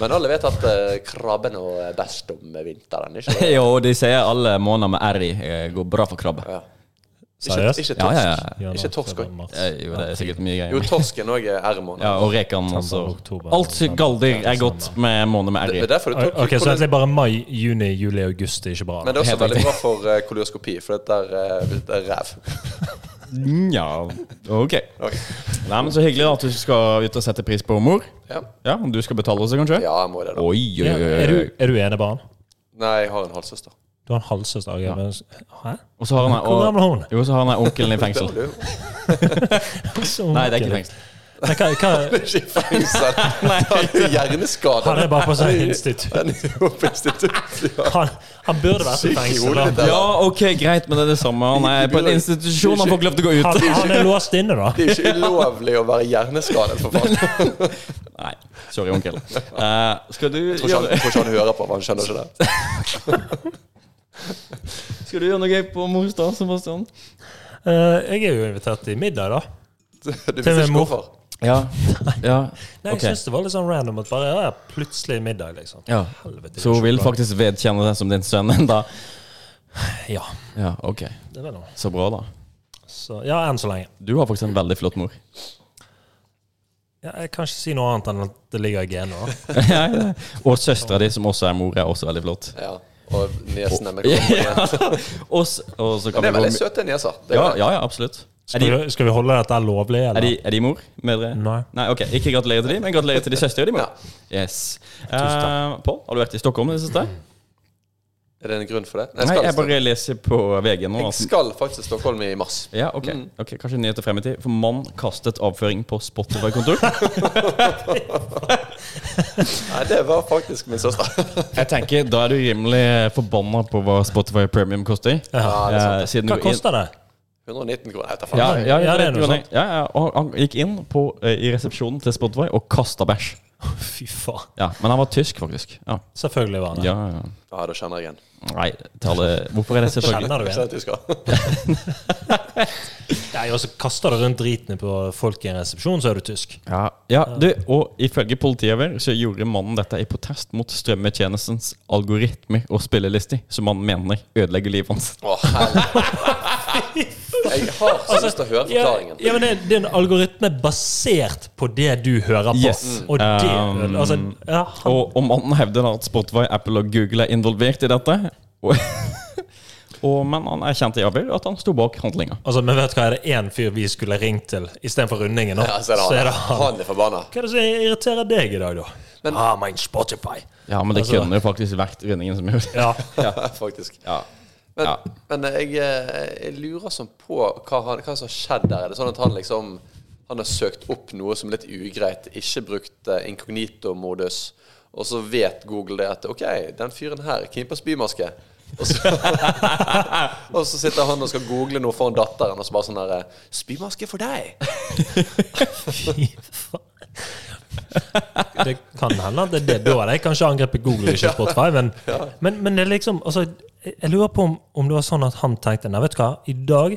B: Men alle vet at eh, krabben er best om vinteren, ikke sant?
A: Jo, de sier alle måneder med R i eh, går bra for krabbe.
B: Ja.
C: Seriøst?
B: Ikke, ikke
A: Ja,
B: torsk.
A: ja,
C: Ja,
B: Ikke torsk
C: før
B: også.
C: mars.
A: Eh, Jo, det er sikkert mye
B: Jo,
A: greier.
B: torsken òg er R-måned.
A: Ja, og rekan også.
C: oktober,
A: Alt
C: november,
A: galldyr er
C: desember.
A: godt med måned med
B: Det
A: R i.
B: er derfor du tok
C: Ok, Så egentlig bare mai, juni, juli, august er ikke bra?
B: Men
C: da.
B: det er også
A: Helt
B: veldig bra for eh, kolioskopi, for det er, eh, det er ræv.
A: Nja, ok.
B: Ok.
A: Nei, men Så hyggelig da at du skal ut og sette pris på mor.
B: Ja.
A: Ja, Du skal betale også, kanskje?
B: ja, jeg må det, da.
A: Oi, oi,
C: Ja,
A: oi, oi.
C: er, du, er du enebarn?
B: Nei, jeg har en halvsøster.
C: Du har en halvsøster. ok, men- Hæ?
A: Og så har han
C: Hvor gammel er hun?
A: Jo, så har han onkelen i fengsel.
B: Det
C: Så
A: Nei, det er ikke
C: ung.
A: fengsel.
C: Nei, hva, hva,
B: er ikke i fengsel. Da er du hjerneskada.
C: han er bare på sånn institutt.
B: Han er jo på institutt, ja.
C: Han, han burde vært i fengsel.
B: Gjorde det
C: da.
B: der.
A: Ja, ok, greit, men det er det samme. Han er på en institusjon, han får ikke lov til å gå ut.
C: Han, han er låst inne, da.
B: Det er jo ikke ulovlig å være hjerneskadet, for faen. Jeg
A: Nei. Sorry, onkel. Eh, skal du
B: tror ikke han,
A: gjøre
B: jeg tror ikke han hører på, men han skjønner ikke det.
A: Skal du gjøre noe gøy på morsdag, Sebastian?
C: Eh, jeg er jo invitert i middag, da.
B: Du visste
C: Til min
B: ikke
C: mor.
B: hvorfor.
A: Ja. ja.
C: Nei,
A: Ok.
C: Jeg syns det var litt sånn random at bare ja, plutselig middag, liksom.
A: ja.
C: Helvete.
A: Så hun vil faktisk vedkjenne deg som din sønn enda?
C: Ja,
A: Ja, ok.
C: det var noe.
A: Så bra, da.
C: Så, ja, enn så lenge.
A: Du har faktisk en veldig flott mor.
C: Ja, jeg kan ikke si noe annet enn at det ligger i genene. da.
A: Ja, ja. Og søstera di, som også er mor, er også veldig flott.
B: Ja. Og niesene med kroppen.
A: Og, s- og så kan vi
B: Det er
A: gå
B: veldig
A: med-
B: søte nieser. Det er
A: ja,
B: det.
A: ja, ja, absolutt. Er
C: Skal,
A: de,
C: vi- skal vi holde dette lovlig,
A: er
C: eller?
A: de, er de mor? Mødre?
C: Nei.
A: Nei, ok. Ikke gratulerer til de, men gratulerer til de søstre og de mor. Yes. Eh, Pål, har du vært i Stockholm i det siste?
B: Er det en grunn for det? Nei,
A: Nei,
B: jeg
A: jeg
B: skal,
A: bare leser på VG nå.
B: jeg
A: at-
B: skal faktisk til Stockholm i mars.
A: Ja, ok.
B: Mm.
A: ok, Kanskje nyheter frem i tid. For mann kastet avføring på Spotify-kontor.
B: Nei, det var faktisk min søster.
A: Jeg tenker, Da er du rimelig forbanna på hva Spotify Premium koster.
B: Ja, det er sant.
A: Eh, siden
C: Hva
A: du-
C: koster det?
B: 119 kroner. Jeg vet da faen.
A: Ja, ja,
C: Ja,
A: ja,
C: det er
A: det
C: noe
A: ja, ja, og han gikk inn på, eh, i resepsjonen til Spotify og kasta bæsj.
C: Fy faen.
A: Ja, men han var tysk, faktisk. Ja.
C: Selvfølgelig var det.
A: Ja, ja.
B: Ja, da kjenner jeg igjen.
A: Nei, til alle Hvorfor er det selvfølgelig
C: Kjenner du
B: Kjenner
C: igjen?
B: at du skal.
C: Nei, og så kaster du rundt driten på folk i en resepsjon, så er du tysk.
A: ja, ja, du, og ifølge politiet vel, så gjorde mannen dette i protest mot strømmetjenestens algoritmer og spillelister, som han mener ødelegger livet hans.
B: Å, helvete. Jeg har så lyst til å høre forklaringen.
C: Ja, ja, men det, det er en algoritme basert på det du hører på.
A: Yes.
C: Og det
A: Um,
C: altså, ja, han,
A: Og, og mannen hevder da at Spotify, Apple og Google er involvert i dette. Og, og, men han erkjente i avhør at han sto bak handlinga.
C: altså, Men vet du hva, er det én fyr vi skulle ringt til istedenfor rundingen? nå,
B: Ja, så er det han. Han er forbanna.
C: Hva er det som irriterer deg i dag, da? ah, mein Spotify.
A: Ja, men det
C: Altså-
A: kunne jo faktisk vært rundingen som gjorde det.
C: Ja.
B: Faktisk.
A: Ja.
B: Men,
A: Ja.
B: men jeg, eh, jeg lurer sånn på hva, han, hva som har skjedd der. Er det sånn at han liksom Han har søkt opp noe som er litt ugreit, ikke brukt eh, inkognito-modus, og så vet Google det at OK, den fyren her er keen på spymaske. Og så, og så sitter han og skal google noe foran datteren, og så bare sånn der eh, Spymaske for deg!
C: Fy faen. Det kan hende at det er det. Da hadde jeg kanskje angrepet Google, ikke Spotify. Men, men, men det er liksom altså, Jeg jeg lurer på om, om det var sånn at han tenkte Nei, vet du hva, i dag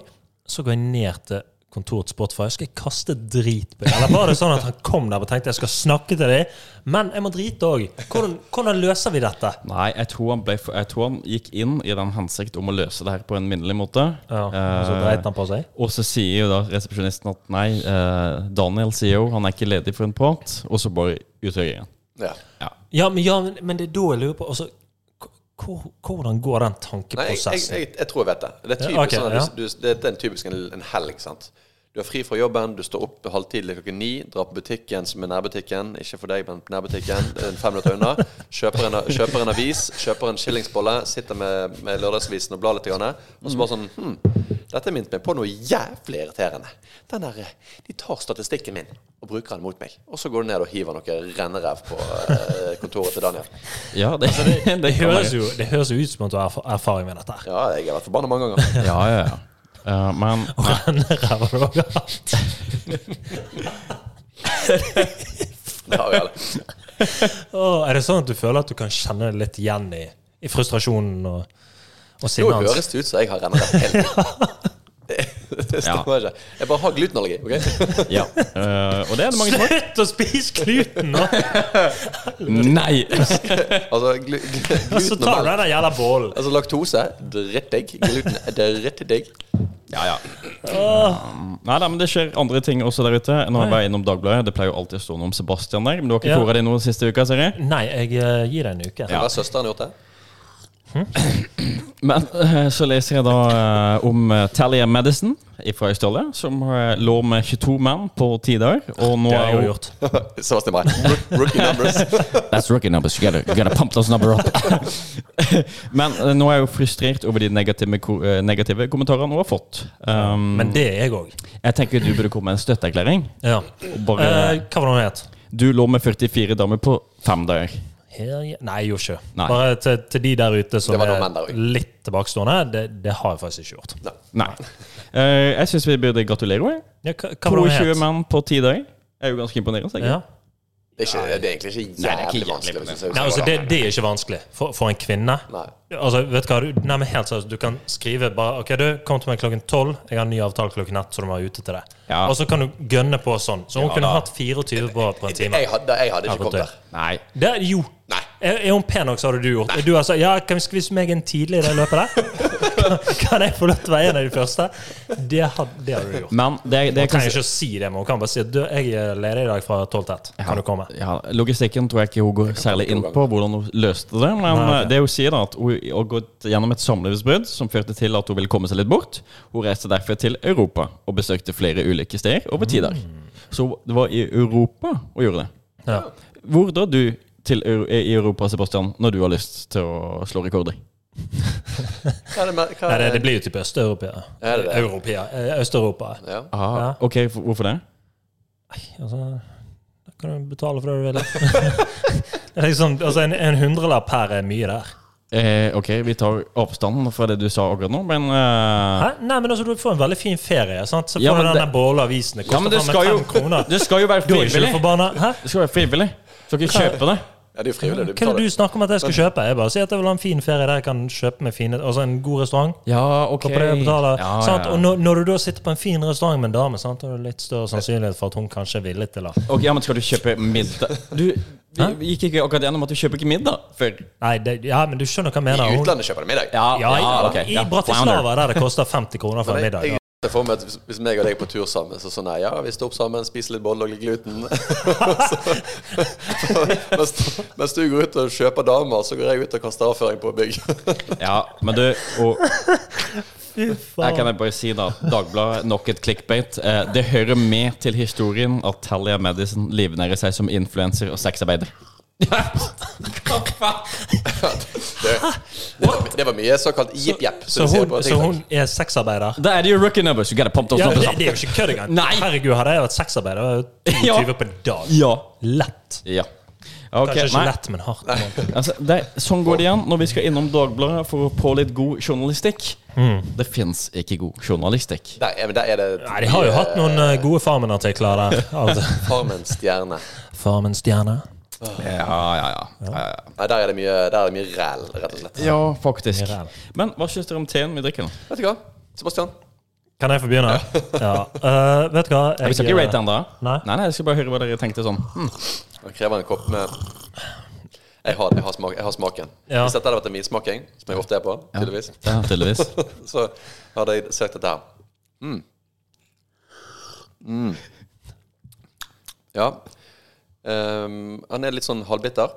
C: så går jeg ned til kontoret til Spotify skal jeg kaste drit på deg?" Eller var det sånn at han kom der og tenkte jeg skal snakke til deg, men jeg må drite òg? Hvordan, hvordan løser vi dette?
A: Nei, jeg tror, han ble, for- jeg tror han gikk inn i den hensikt om å løse det her på en minnelig måte.
C: Ja, altså, og så
A: Eh,
C: dreit han på seg.
A: Og så sier jo da resepsjonisten at nei, eh, Daniel sier jo han er ikke ledig for en prat, og så bare utreagering.
B: Ja.
C: Ja, men, ja, men- men det er da jeg lurer på altså, hvor- hvor, Hvordan går
B: Nei, jeg,
C: den
B: jeg,
C: tankeprosessen?
B: jeg, jeg tror jeg vet det. Det er, typisk,
C: Ja, ok,
B: sånn at du, du, det er en typisk en, en helg. sant? Du er fri fra jobben, du står opp halvtidlig klokken ni, drar på butikken som er nærbutikken, ikke for deg, men nærbutikken, det er en fem minutter unna, kjøper en, kjøper en avis, kjøper en skillingsbolle, sitter med, med lørdagsavisen og blar litt, grann, og så bare sånn hm, Dette minnet meg på noe jævlig irriterende. Den der, eh, De tar statistikken min og bruker den mot meg. Og så går du ned og hiver noe renneræv på eh, kontoret til Daniel.
A: Ja, det, det,
C: Altså, Det
A: kan
C: høres,
A: være.
C: jo, det høres jo ut som at du har erf- erfaring med dette. her.
B: Ja, jeg har vært forbanna mange ganger.
A: Ja, ja, ja. Eh, men
C: Ræva du har hatt.
B: Det har vi alle.
C: Åh, er det sånn at du føler at du kan kjenne det litt igjen i, i frustrasjonen og, og
B: Nå
C: sinnet hans?
B: høres det ut som jeg har renneræv hele tiden. Det, det stemmer ikke. Jeg bare har glutenallergi. ok?
A: ja. Eh, og det er det mange som har.
C: Slutt å spise gluten nå!
A: Nei!
B: Altså, glu, glu,
C: Og
B: gluten
C: så
B: og
C: tar du
B: melk.
C: den der jævla bollen.
B: Altså, laktose drittdigg. Gluten er drittdigg.
A: Ja, ja. Nei, nei, men det skjer andre ting også der ute. Når jeg var innom Dagbladet, Det pleier jo alltid å stå noe om Sebastian der, men du har ikke
C: Ja.
A: fôret det noe siste uka, ser jeg?
C: Nei, jeg eh, gir deg en uke.
B: Hva har søsteren gjort det?
A: Men eh, så leser jeg da eh, om eh, Talia Madison fra Australia, som eh, lå med 22 menn på ti dager. Og nå
C: Det har jeg
A: hun-
C: jo gjort.
B: Sebastian May. Rookie numbers.
A: That's rookie numbers. You gotta, you gotta pump those numbers up. Men eh, nå er jeg jo frustrert over de negative, ko eh, negative kommentarene hun har fått.
B: Mm.
A: Um,
C: Men det er jeg òg.
A: jeg tenker du burde komme med en støtteerklæring.
C: Ja.
A: Og
C: Eh,
A: Bare,
C: hva var det hun het?
A: du lå med 44 damer på fem dager.
C: Her- Nei, jeg gjorde ikke.
A: Nei.
C: Bare til, til de der ute
B: Det
C: som
B: var noen
C: er
B: menn der også.
C: litt tilbakestående. Det, det har jeg faktisk ikke gjort.
B: Nei.
A: Nei. Eh, jeg syns vi burde gratulere henne.
C: Ja, hva, hva var det
A: 22
C: hun het?
A: menn på ti dager. Er jo ganske imponerende. tenker jeg.
C: Ja.
B: Det er, ikke, det er egentlig ikke
A: Nei, det er ikke
B: jævlig
A: jævlig
B: vanskelig.
A: vanskelig.
B: hvis jeg
C: Nei,
B: husker
C: altså,
B: det.
C: det, det er ikke vanskelig for, for en kvinne.
B: Nei.
C: Altså, vet du hva, du, nei, men helt seriøst, du kan skrive bare OK, du, kom til meg klokken tolv. Jeg har en ny avtale klokken ett, så du må være ute til det.
A: Ja.
C: Og så kan du gønne på sånn. Så hun
A: Ja,
C: kunne
A: da.
C: hatt 24 på, på en time.
B: Jeg hadde, jeg hadde
C: Ja,
B: ikke kommet der.
C: godt.
A: Nei.
C: Det, er- jo.
B: Nei.
C: Er, er hun pen nok, så hadde du gjort. Du altså, ja, kan vi skvise meg en tidlig i det løpet der? kan jeg få lov til å være en av de første? Det hadde, det hadde du gjort.
A: Men det, det
C: Hun trenger ikke å si det, men hun kan bare si at du, jeg er ledig i dag fra tolv til ett. Kan du komme?
A: ja, Logistikken tror jeg ikke hun går særlig inn på, hvordan hun løste det. Men
C: Nei,
A: eh, det hun sier, da at hun har gått gjennom et samlivsbrudd som førte til at hun ville komme seg litt bort. Hun reiste derfor til Europa og besøkte flere ulike steder over
C: Mm.
A: ti dager. Så det var i Europa hun gjorde det.
C: Ja.
A: Hvor drar du til Eu- i Europa, Sebastian, når du har lyst til å slå rekorder?
B: Hva er det, med- hva
C: Nei,
B: er
C: det, det
B: det?
C: blir jo type Øst-Europa.
B: Er det det?
C: Europea. Eh, Øst-Europa.
B: Ja.
A: Ah, ok, for- hvorfor det?
C: Altså, da kan du betale for det du vil. det er liksom, altså en, en hundrelapp her er mye der.
A: Eh, ok, vi tar avstanden fra det du sa akkurat nå, men eh,
C: Hæ? Nei, men altså, Du får en veldig fin ferie. sant? Så får
A: Ja,
C: du
A: men
C: den
A: det-
C: der båleavisen. Det
A: Ja, men
C: koster
A: det
C: faen
A: skal
C: meg
A: jo,
C: fem kroner.
A: det skal jo være
C: Du er ikke
A: frivillig.
C: forbanna. Hæ?
A: Det skal være frivillig. Du skal ikke kjøpe det.
B: ja, det er jo
C: Hva
B: frivillig. Du
C: er det
B: betaler.
C: du snakker om at jeg skal kjøpe? Jeg bare sier at jeg vil ha en fin ferie der jeg kan kjøpe meg fine Altså en god restaurant.
A: Ja, ok.
C: På det jeg betaler,
A: Ja,
C: sant?
A: ja.
C: Og når, når du da sitter på en fin restaurant med en dame, sant? da er det litt større sannsynlighet for at hun kanskje er villig til å
A: Ok, ja, men skal du kjøpe middag? Du vi
C: Hæ?
A: vi gikk ikke akkurat gjennom at du kjøper ikke middag før.
C: Nei, det, ja, men du skjønner hva jeg mener.
B: I
C: Hun-
B: utlandet kjøper de middag.
C: Ja, i-
A: ok,
C: I
A: ja,
C: Bratislava, der det koster 50 kroner for en
B: Jeg,
C: middag.
B: jeg,
C: ja.
B: ser for meg at hvis, hvis meg og deg er på tur sammen, så sånn nei, ja, vi står opp sammen, spiser litt bolle og litt gluten. så, mens, mens du går ut og kjøper damer, så går jeg ut og kaster avføring på bygg.
A: Flounder. Ja, men du, og
C: Fy
A: her kan
C: faen.
A: jeg bare si da, Dagbladet, nok et clickbait. Eh, det hører med til historien at Talia Madison livnærer seg som influenser og sexarbeider.
B: Det, det, var, det var mye såkalt jipp-japp.
C: Så hun, så hun er sexarbeider?
A: Da er det jo rookie numbers. You gotta pump those
C: Ja,
A: numbers
C: det,
A: up.
C: det er jo ikke kødd engang.
A: Nei.
C: Herregud, hadde jeg vært sexarbeider, hadde jeg vært 22 på en dag.
A: Ja.
C: Lett.
A: Ja. Ok,
C: Kanskje ikke
A: nei.
C: lett, men hardt.
A: Altså, det, er- sånn går det igjen når vi skal innom Dagbladet for å få litt god journalistikk. Det fins ikke god journalistikk.
B: Nei, men der er det
C: Nei, de har jo hatt noen eh, gode Farmen-artikler der. Altså,
B: Farmens stjerne.
C: Farmens stjerne.
A: Ja, ja, ja. Ja, ja.
B: Nei, der er det mye, der er det mye ræl, rett og slett.
A: ja faktisk.
C: Ræl.
A: Men hva syns dere om teen vi drikker nå?
B: Vet du hva, Sebastian?
C: Kan jeg få begynne? Ja. Eh, vet du hva?
A: Vi skal ikke rate den, da?
C: Nei.
A: nei, jeg skal bare høre hva dere tenkte sånn. Hm.
B: Han krever en kopp med Jeg har, jeg har, smak, jeg har smaken.
C: Ja.
B: Hvis dette hadde vært en vinsmaking, som jeg ofte er på, tydeligvis,
A: Ja, tydeligvis.
B: så hadde jeg søkt dette her. Mm. Mm. Ja. Ehm, han er litt sånn halvbitter.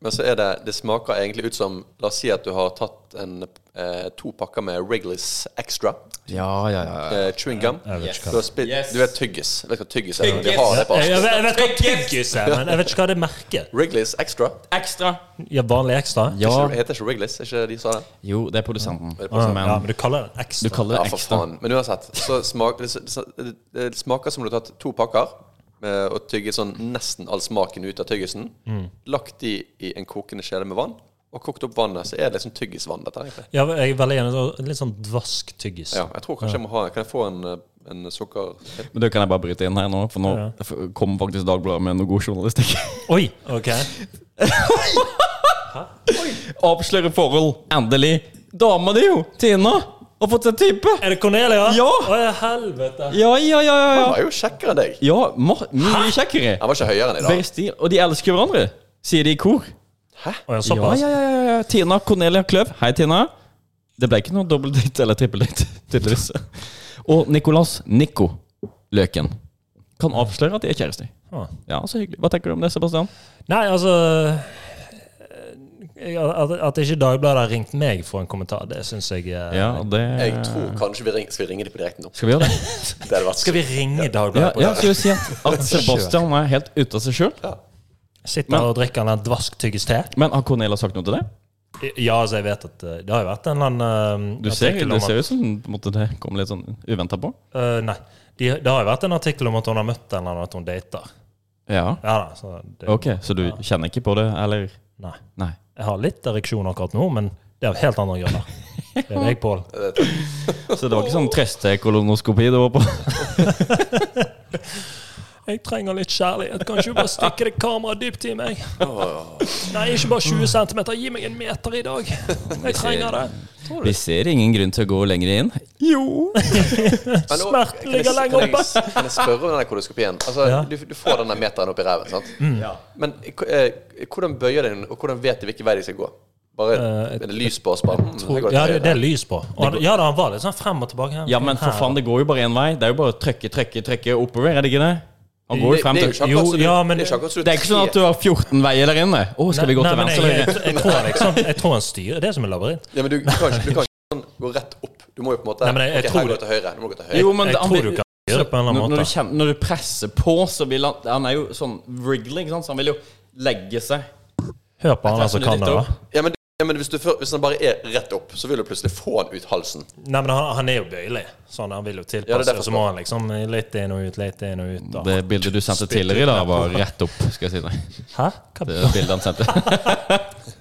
B: Men så er det Det smaker egentlig ut som La oss si at du har tatt en, eh, to pakker med Wrigley's Extra.
A: Ja, ja, ja.
B: Eh, chewing gum.
C: Jeg vet ikke hva
B: Du, har spilt,
A: Yes.
B: du vet tyggis. Vet du hva tyggis er?
A: Tyggis!
B: De har det på
C: Jeg, jeg,
B: Asken.
C: vet- jeg vet hva tyggis er, men jeg vet ikke hva det er merket.
B: Wrigley's Extra.
A: Ekstra.
C: Ja, vanlig ekstra?
A: Ja.
B: Ikke- Heter ikke Wrigley's? Er ikke det de sa det?
A: Jo, det er produsenten.
C: Ah,
A: Men
C: ja, men du kaller det
A: du
C: ekstra.
A: kaller
B: Ja,
A: det
B: for
A: ekstra.
B: faen. Men uansett, så smak, det, det, det smaker som om du har tatt to pakker eh, og tygget sånn nesten all smaken ut av tyggisen.
A: Mm.
B: Lagt de i en kokende kjele med vann, og kokt opp vannet, så er det liksom tyggisvann. dette egentlig.
C: Ja, jeg er veldig enig. så Litt sånn dvask tyggis.
B: Ja, jeg tror kanskje jeg må ha Kan jeg få en, eh, en sukker...
A: Men du, Kan jeg bare bryte inn her nå? For nå
C: Ja.
A: f- kom faktisk Dagbladet med noe god journalistikk.
C: Oi! ok
A: Avsløre forhold. Endelig. Dama di, jo! Tina! Har fått seg type!
C: Er det Cornelia?
A: Ja!
C: Å, ja, helvete.
A: Ja, ja, ja, ja,
B: Han
A: ja.
B: var jo kjekkere enn deg!
A: ja ma- mye kjekkere.
B: Han var ikke høyere enn i
A: Very
B: dag.
A: stil. Og de elsker hverandre, sier de i kor.
C: Å, ja,
A: Ja,
C: såpass.
A: ja, ja, ja, ja. Tina Cornelia Kløv. Hei, Tina. Det ble ikke noe dobbeldate eller trippeldate, tydeligvis. Og Nicolas Nico Løken kan avsløre at de er kjærester.
C: Ah.
A: Ja, så hyggelig. Hva tenker du om det, Sebastian?
C: Nei, altså jeg- at, at ikke Dagbladet har ringt meg for en kommentar, det syns jeg eh,
A: Ja, det
B: Jeg tror kanskje vi ringer, skal vi ringe dem på direkten nå.
A: Skal vi gjøre det?
B: Det hadde vært
C: Skal vi ringe
A: Ja,
C: Dagbladet? på
A: ja
C: det?
A: skal vi si at, at Sebastian er helt ute av seg sjøl?
C: Sitter
A: Men-
C: og drikker en dvask tyggis te?
A: Men har Cornelia sagt noe til det?
C: Ja, altså, jeg vet at eh, det har jo vært en eller annen eh,
A: Du ser,
C: artikkel
A: du
C: om at-
A: ser ut som på en måte, det kom litt sånn uventa på.
C: Eh, Nei. De, det har jo vært en artikkel om at hun har møtt en eller annen, at hun dater.
A: Ja.
C: Ja da, så det,
A: Ok, så du kjenner ikke på det, eller?
C: Nei.
A: Nei.
C: Jeg har litt ereksjon akkurat nå, men det er av helt andre grunner. Det er deg, Pål.
A: Så det var ikke sånn trøstekolonoskopi du var på?
C: Jeg trenger litt kjærlighet. Kan ikke du bare stikke det kameraet dypt i meg? Nei, ikke bare 20 cm. Gi meg en meter i dag. Jeg trenger det.
A: Vi ser ingen grunn til å gå lenger inn. Jo!
B: Men nå-
C: Smerten
B: kan jeg-
C: ligger lenger
B: kan jeg- Kan jeg spørre om den der koloskopien? Altså,
C: Ja. Mm.
B: du, du får denne meteren opp i ræven, sant? Men eh, hvordan bøyer den, og hvordan vet du hvilken vei de skal gå? Bare
C: Eh,
B: er det lys på oss, bare? Mm, jeg går til
C: Ja, det,
B: høyre.
C: det er lys på. Og han, ja da, han var litt sånn frem og tilbake.
A: Ja, men for faen, det går jo bare én vei. Det er jo bare å trykke, trykke, trykke oppover, er det ikke det? Han går jo frem
B: det, det er
A: til
B: jo ikke akkurat
C: Jo,
B: så du-
C: ja, men-
B: det er ikke akkurat så du
A: Det er ikke sånn at du har 14 veier der inne. Å, skal vi gå til venstre eller
C: jeg,
A: høyre?
C: jeg, jeg, tror liksom, jeg tror han styrer. Det er som en labyrint.
B: Ja, men du, du kan ikke, du kan ikke sånn, gå rett opp. Du må jo på en måte
C: Nei, men jeg- jeg
B: Ok,
C: tror
B: her går du
C: det-
B: til høyre. Du må gå til høyre.
A: Jo, men
C: Jeg
A: han
C: tror du
A: vil-
C: kan styre det på en eller
A: når,
C: annen
A: når, du
C: måte.
A: kjenner, når du presser på, så vil han Han er jo sånn wriggling, ikke sant? så han vil jo legge seg.
C: Hør på han altså her
A: Presser
C: som kan
A: litt
C: det. da.
A: opp.
B: Ja, men, ja, men hvis, du, før- hvis den bare er rett opp, så vil du plutselig få den ut halsen.
C: Nei, men han, han er jo bøyelig. Sånn, han vil jo
B: Ja, det
C: tilpasse,
B: er derfor
C: og så må han liksom litt inn og ut, litt inn og ut. Da.
A: Det bildet du sendte tidligere i dag, var rett opp. skal jeg si deg.
C: Hæ? Hva?
A: Det bildet han sendte.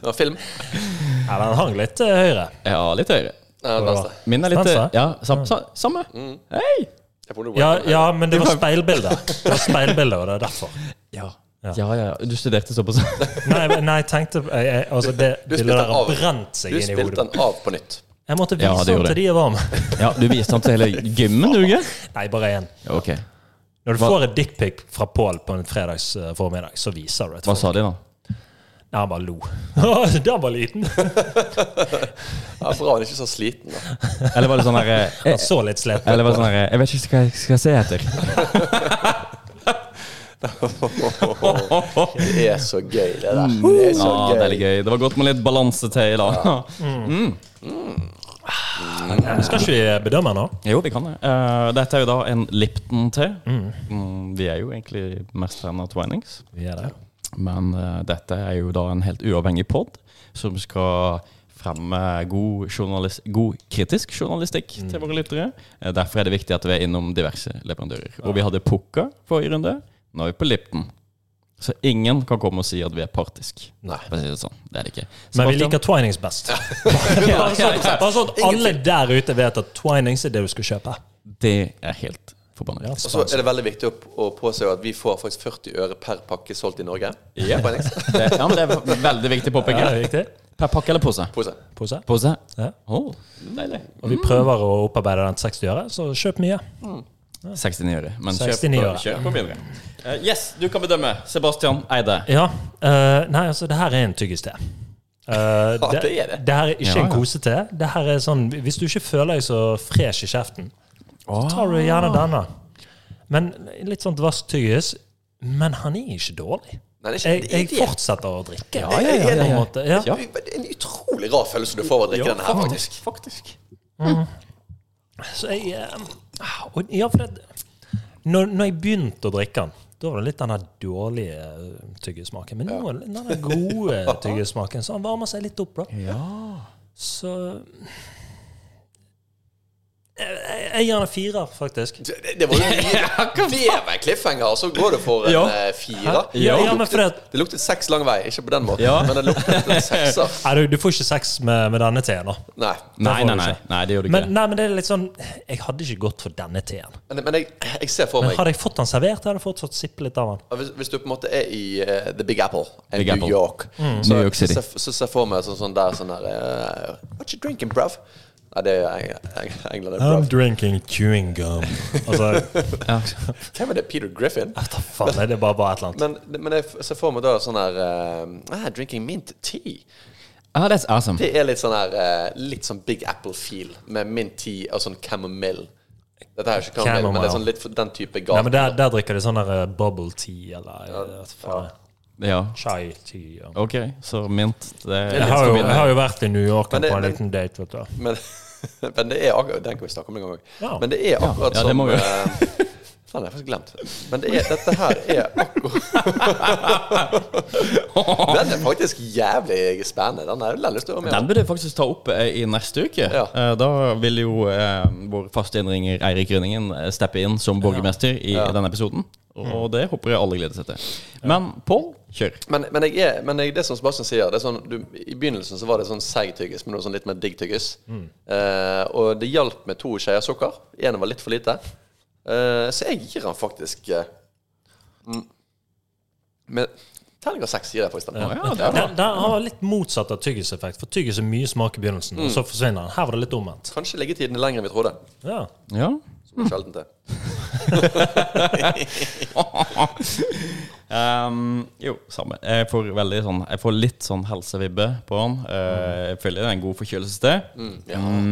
B: Ja, film.
C: Ja, den hang litt til høyre.
A: Ja, litt høyere.
B: Nei, den venstre.
A: Min er litt eh,
C: Spencer?
A: Ja, sam, sa- samme. Hei!
B: Jeg får noe-
C: Ja, ja, men det var speilbilde. Det var speilbilde, og det er derfor.
A: Ja. Ja, ja, ja. Du studerte såpass.
C: Nei, men- nei, jeg tenkte jeg, jeg, Altså, det
B: Du
C: bildet
B: spilte
C: der
B: den
C: har
B: av.
C: brent seg
B: Du
C: inn i
B: spilte
C: hodet.
B: den av på nytt.
C: Jeg måtte vise
A: Ja, det
C: den
A: gjorde
C: til de jeg var med.
A: Ja, du viste han til hele gymmen, du, ikke?
C: Nei, bare én.
A: Ok.
C: Når du får et dickpic fra Pål på en fredags eh, formiddag, så viser du det. til
A: Hva
C: folk.
A: sa de, da?
C: Nei, han bare lo. Den var liten.
B: Ja, Bra han ikke er så sliten. Da.
A: Eller var det sånn herre
C: Han så litt sliten
A: Eller var det sånn herre Jeg vet ikke hva jeg skal se etter.
B: Det er så gøy, det der. Det er så
A: Ja, Ah, det er litt
B: gøy.
A: gøy. Det var godt med litt balanse til i dag. Eh,
C: Skal ikke vi eh, bedømme nå?
A: Jo, vi kan det. Eh, dette er jo da en Lipton-te. Mm, vi er jo egentlig mest fan av Twinings.
C: Vi er der.
A: Men eh, dette er jo da en helt uavhengig pod som skal fremme god, journalis- god kritisk journalistikk
C: Mm.
A: til våre lyttere. Eh, Derfor er det viktig at vi er innom diverse leverandører. Og vi hadde Pukka forrige runde, nå er vi på Lipton. Så ingen kan komme og si at vi er partisk.
B: Nei.
A: For å si det sånn. Det er det ikke.
C: Men vi
A: Sebastian?
C: liker Twinings best. Bare sånn bare sånn at alle der ute vet at Twinings er det du skal kjøpe.
A: Det er helt forbanna.
B: Og så er det veldig viktig å, å påse at vi får faktisk 40 øre per pakke solgt i Norge.
A: Ja. Det, ja, men det er veldig viktig påpeking.
C: Ja, riktig.
A: Per pakke eller pose?
B: Pose.
C: Pose.
A: Pose.
C: Ja.
A: Oh, deilig.
C: Og vi prøver å opparbeide den 60 øre, så kjøp mye.
A: 69 øre. Men
C: 69 øre.
A: kjør på, kjør på videre. Eh, yes, du kan bedømme. Sebastian Eide.
C: Ja. eh, nei, altså, det her er en tyggis-te. Eh,
B: Ja, det er det.
C: det her er ikke
A: Ja,
C: en
A: ja.
C: kosete. Det her er sånn, Hvis du ikke føler deg så fresh i kjeften, så
A: Ah.
C: tar du gjerne denne. Men litt sånn dvask tyggis. Men han er ikke dårlig.
B: Nei, det er
C: Jeg,
B: ikke,
C: jeg
B: det er,
C: fortsetter å drikke.
A: Ja, ja, ja, ja,
C: På en
A: ja.
C: måte. Ja.
B: det er- det er en utrolig rar følelse du får av å drikke denne her, faktisk.
C: Så jeg eh, og, Ja, for det når, når jeg begynte å drikke den, da var det litt den der dårlige eh, tyggesmaken. Men nå er det den der gode tyggesmaken, så han varmer seg litt opp, da. Så Jeg, jeg, jeg gir den en firer, faktisk.
B: Det, det- det var jo mye Det var en cliffhanger, og så går det for en
A: Ja.
B: eh, fire.
C: Ja,
B: Det
C: ja, men
B: luktet-
C: for at-
B: Det luktet seks lang vei. Ikke på den måten,
A: Ja.
B: men det luktet en sekser.
C: Nei, du, du får ikke sex med, med denne teen, da.
B: Nei.
A: Nei,
C: får
A: nei,
C: du
A: nei, nei, det gjør du ikke.
C: Men, nei, men det er litt sånn Jeg hadde ikke gått for denne teen.
B: Men, men jeg, jeg ser for
C: Men
B: meg
C: hadde jeg fått den servert, hadde jeg fortsatt sippet litt av den.
B: Og Hvis, hvis du på en måte er i eh, The Big Apple, eh,
A: Big
B: New
A: Apple. Mm.
B: York, så,
A: New York City.
B: så, så ser jeg for meg sånn, sånn der sånn der eh, What you drinking, bruv? Nei, det er Eng- Eng- England. det er bruv.
C: Um, drinking chewing gum. Altså,
B: Hvem er det? Peter Griffin?
C: ta faen, nei, det bare var et eller annet.
B: Men, men jeg f- ser for meg da sånn her eh, ah, Drinking mint tea.
A: Ah, that's awesome.
B: Det er litt sånn her eh, Litt sånn Big Apple-feel med mint tea og sånn chamomile. Dette er jo ikke chamomile, men det er sånn litt for den type
C: Nei, men
B: gate.
C: der, der drikker de sånn der eh, bubble tea eller eh, hva faen er det?
A: Ja.
C: chai tea. Ja.
A: Ok, så mint det
C: Jeg,
A: er
C: har jo, jeg har jo vært i New York
B: Men det-
C: på en
B: men-
C: liten date, vet du.
B: Men, men det er akkurat Den kan vi snakke om en gang òg.
C: Ja.
B: Men det er akkurat
A: Ja, det må vi gjøre.
B: som eh, Faen, jeg har faktisk glemt. Men det er, dette her er akkurat Den er faktisk jævlig spennende. Den har jeg veldig lyst til å være
A: Den
B: med på.
A: burde jeg faktisk ta opp eh, i neste uke.
B: Ja.
A: Eh, Da vil jo eh, vår faste innringer Eirik Rønningen eh, steppe inn som borgermester i denne episoden. Og
C: Mm.
A: det håper jeg alle gleder seg til. Men Pål, kjør.
B: Men, men, jeg er, men jeg, det som Sebastian sier det er sånn, du, I begynnelsen så var det sånn seig tyggis, men nå sånn litt mer digg tyggis. Eh, og det hjalp med to skjeer sukker. Én var litt for lite. Eh, så jeg gir han faktisk eh, Men terninger seks gir jeg faktisk den.
A: Å, ja, det er bra.
C: Den, den har litt motsatt av tyggiseffekt, for tyggis er mye smak i begynnelsen, og så forsvinner den. Her var det litt omvendt.
B: Kanskje liggetiden er lenger enn vi trodde.
C: Ja.
A: Ja. Mm.
B: Som er sjelden til.
A: Ehm, jo, samme. Jeg får, veldig sånn, jeg får litt sånn helsevibbe på den. Eh, jeg føler det er en god forkjølelse til. Mm,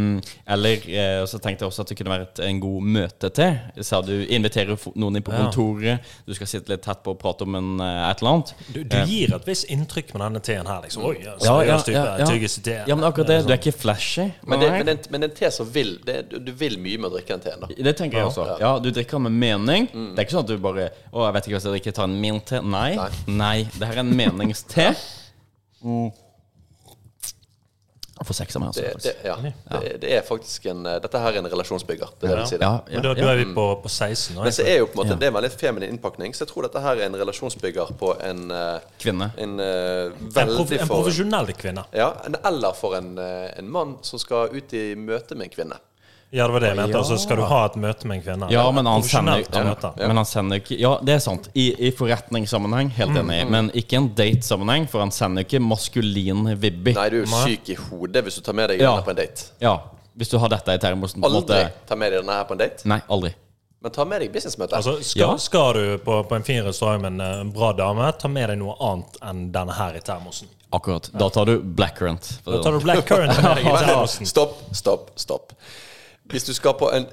A: eller eh, så tenkte jeg også at det kunne være et, en god møte til. Sa du inviterer fo- noen inn på
C: Ja.
A: kontoret, du skal sitte litt tett på og prate om en, eh, et eller annet.
C: Du, du gir et visst inntrykk med denne teen her, liksom. Oi, ja,
A: Ja, ja,
C: seriøs type.
A: ja, ja.
C: Tyggis i teen.
A: ja, men akkurat det. Du er ikke flashy.
B: Men det,
A: Nei.
B: men det, er en- men det er en te som vil det, er- du, du vil mye med å drikke en te. da
A: Det tenker jeg også. Ja, Du drikker med mening.
B: Mm.
A: Det er ikke sånn at du bare Å, jeg vet ikke hva jeg skal drikke, ta en min te. Nei. Nei. Det her er en meningste. Mm. Jeg får seks av meg, altså.
B: Det, det,
A: faktisk.
B: ja. det, det er faktisk en eh, Dette her er en relasjonsbygger. Det er det jeg vil si det.
A: Ja,
C: Men da,
A: ja,
C: da
A: ja.
C: er vi på, på 16 nå.
B: Men så
C: egentlig.
B: er jo på en måte Det er en veldig feminin innpakning, så jeg tror dette her er en relasjonsbygger på en eh,
A: Kvinne.
B: En eh,
C: En,
B: veldig
C: prof, en
B: for
C: profesjonell kvinne.
B: Ja, en- eller for en, eh, en mann som skal ut i møte med en kvinne.
C: Ja, det var det jeg mente.
A: Ja.
C: Altså, skal du ha et møte med en kvinne?
A: Ja, men han sender,
C: Profesjonelt
A: han,
C: møte.
A: men han sender jo ikke Ja, det er sant. I, i forretningssammenheng,
B: Mm,
A: helt enig. Men ikke en datesammenheng, for han sender jo ikke maskulin vibbi.
B: Nei, du er jo
C: Nei.
B: syk i hodet hvis du tar med deg
A: Ja.
B: denne på en date.
A: Ja, hvis du har dette i termosen, på en måte.
B: Aldri ta med deg denne her på en date,
A: Nei, aldri.
B: men ta med deg businessmøte.
C: Altså, skal,
A: Ja.
C: skal du på, på en fin restaurant med en eh, bra dame, ta med deg noe annet enn denne her i termosen.
A: Akkurat. Da tar du blackcurrant.
C: Da tar du black currant med deg i termosen.
B: Stopp, stopp, stopp. Hvis du skal på en,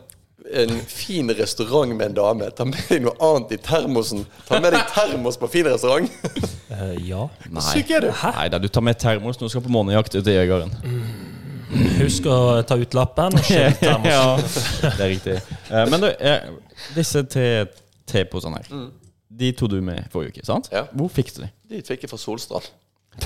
B: en fin restaurant med en dame, ta med deg noe annet i termosen. Ta med deg termos på fin restaurant.
C: Eh, ja.
B: Syk er du.
A: Nei da, du tar med termos når du skal på månejakt ute i Øygarden.
C: Husk å eh, ta ut lappen og skille termosen.
A: ja, det er riktig. Eh, men du, eh, disse te- teposene her, de tok du med forrige uke, sant?
B: Mm. Ja.
A: Hvor fikk du de?
B: De fikk jeg fra Solstrand.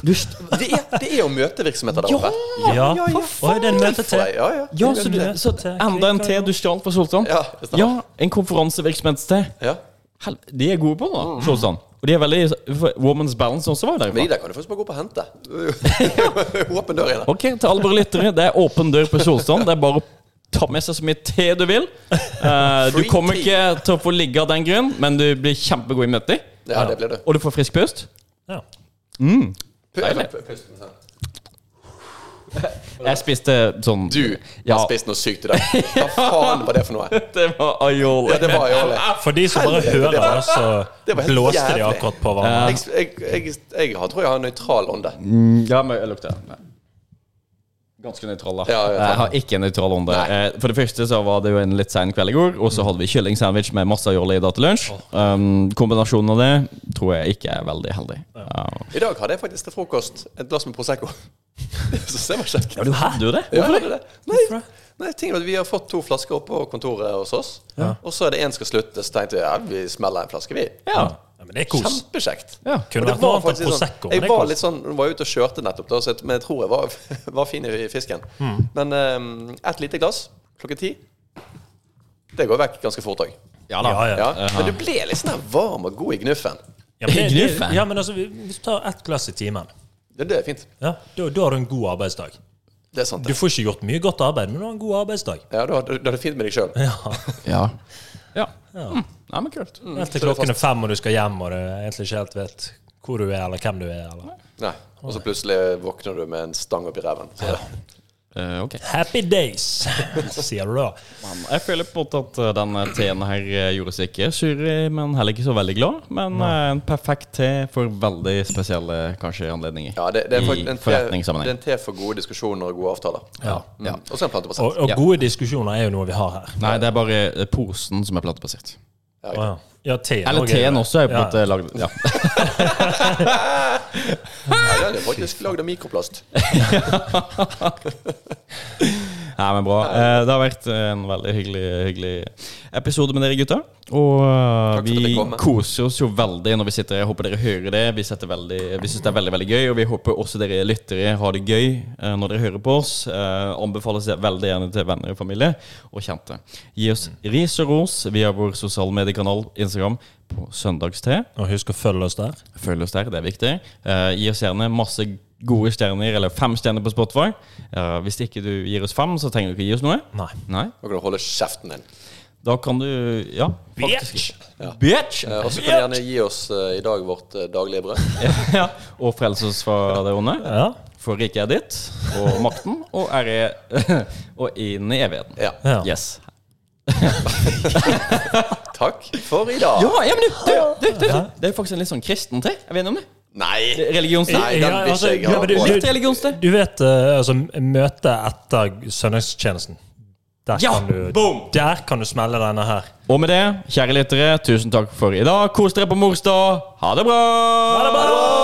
A: Du, st-
B: Det er, det er jo møtevirksomheter der oppe.
C: Ja, Og er det en møte til?
B: Ja, ja.
A: ja, så, du,
C: Te-
A: så
C: te-
A: enda en te du stjal fra Solstrand?
B: Ja, det stemmer.
A: Ja, en konferansevirksomhetste.
B: ja.
A: Hel- De er gode på det,
B: Mm.
A: da, Solstrand. Og de er veldig for Woman's Balance også var
B: Men de
A: derfra.
B: der kan du faktisk bare gå opp og hente. Åpen dør i det.
A: Ok, til alle våre lyttere, det er åpen dør på Solstrand. Det er bare å ta med seg så mye te du vil. Eh, du
B: Free
A: kommer
B: tea.
A: ikke til å få ligge av den grunn, men du blir kjempegod i møter.
B: Ja, det blir du.
A: Og du får frisk pust.
C: Ja.
B: Pu- pu- pusten sånn.
A: Jeg spiste sånn
B: Du
A: Ja.
B: har spist noe sykt i dag. Hva faen var det for noe?
A: Det var aioli.
B: Ja, det var jo det.
C: For de som bare hører det,
B: det
C: så
B: var helt
C: blåste de
B: jævlig.
C: akkurat på hverandre.
B: Jeg, jeg, jeg, jeg har- tror jeg har en nøytral ånde.
A: Mm, Ja, men jeg lukter det. Ganske nøytral, da.
B: Ja, ja, ja.
A: jeg har ikke en nøytral ånde. Eh, For det første så var det jo en litt sein kveld i går, og så hadde vi kyllingsandwich med masse aioli i dag til lunsj. Um, kombinasjonen av det tror jeg ikke er veldig heldig. Ja.
B: I dag hadde jeg faktisk til frokost et glass med Prosecco. Så det var kjekt.
A: Du hadde jo det?
B: Ja, jeg hadde det. Nei,
C: Hvorfor det?
B: nei, ting er at Vi har fått to flasker oppe på kontoret hos oss, og så er det én skal slutte. Så tenkte jeg ja, vi smeller en flaske, vi.
A: Ja.
C: Ja, men det er kos.
B: Kjempekjekt.
A: ja.
C: Kunne
B: Og det
C: vært noe
B: var
C: annet enn
B: faktisk sånn,
C: Prosecco. men
B: jeg
C: det er
B: var
C: kos.
B: litt sånn, var ute og kjørte nettopp, da, så jeg, men jeg tror jeg var, var fin i fisken.
C: Mm.
B: Men um, ett lite glass klokken ti Det går vekk ganske fort òg.
A: Ja da.
C: Ja, ja.
B: sånn- Ja. Men du ble litt sånn der varm og god i gnuffen.
C: Ja, men, det,
A: Gnuffen.
C: det, ja, men altså, hvis du tar ett glass i timen,
B: Det, det er fint.
C: ja, da, da har du en god arbeidsdag.
B: Det er sant.
C: Du
B: det.
C: får ikke gjort mye godt arbeid, men du har en god arbeidsdag.
B: Ja, du har du har det fint med deg sjøl.
C: Ja,
A: Ja. ja. Mm. Nei, men kult.
C: Helt til klokken er fem, og du skal hjem, og du egentlig ikke helt vet hvor du er, eller hvem du er. Eller.
B: Nei. Og så plutselig våkner du med en stang oppi ræven. Så det-
A: Eh, ok.
C: Happy days, sier du da.
A: Men jeg føler på en måte at eh, denne teen her eh, gjorde seg ikke sur, eh, men heller ikke så veldig glad. Men eh, en perfekt te for veldig spesielle kanskje anledninger.
B: Ja, det, det er
A: I
B: faktisk en te,
A: forretningssammenheng.
B: det er en te for gode diskusjoner og gode avtaler.
C: Ja.
B: Mm. Og så en planteprosent.
C: Og, og gode diskusjoner er jo noe vi har her.
A: Nei, det er bare eh, posen som er platebasert.
C: Å, Ja, ja teen
A: Eller
C: også er
A: teen
C: det.
A: også er på en
C: Ja.
A: måte lagd ja.
B: Ja, den er faktisk lagd av mikroplast.
A: Nei, men bra. Eh, Det har vært en veldig hyggelig, hyggelig episode med dere gutter. Og eh,
B: Takk for at
A: vi
B: dere kom.
A: koser oss jo veldig når vi sitter her. Jeg Håper dere hører det. Vi, setter veldig, vi syns det er veldig veldig gøy, og vi håper også dere lyttere har det gøy eh, når dere hører på oss. Eh, Anbefales det veldig gjerne til venner og familie og kjente. Gi oss
B: Mm.
A: ris og ros via vår sosiale mediekanal Instagram på Søndagste.
C: Og husk å følge oss der.
A: Følg oss der, det er viktig. Eh, gi oss gjerne masse gode stjerner, eller fem stjerner på Spotify. Eh, hvis ikke du gir oss fem, så trenger du ikke gi oss noe.
C: Nei.
A: Nei.
B: Nå kan du holde kjeften din.
A: Da kan du Ja, faktisk. Bitch!
B: Eh, Og så kan du gjerne gi oss eh, i dag vårt eh, daglige brød.
A: ja. Og frelses fra det onde.
C: Ja.
A: For riket er ditt, og makten, og ære Og inn i evigheten.
B: Ja.
C: Ja.
A: Yes.
B: Takk for i dag.
A: Ja, ja, men du, du, du, du, du. Det er faktisk en litt sånn kristen til. Er vi enige om det?
B: Nei!
A: Religionstid.
B: Nei, den
C: Ja,
B: vil
C: altså,
B: ikke jeg
C: ja,
B: ha
C: men du-
B: på.
C: du-
A: Litt religionstid.
C: Du vet eh, altså, møtet etter søndagstjenesten. Der,
A: Ja,
C: kan du,
A: boom!
C: der kan du smelle denne her.
A: Og med det, kjære lyttere, tusen takk for i dag. Kos dere på morsdag. Ha det bra!
C: Ha det bra!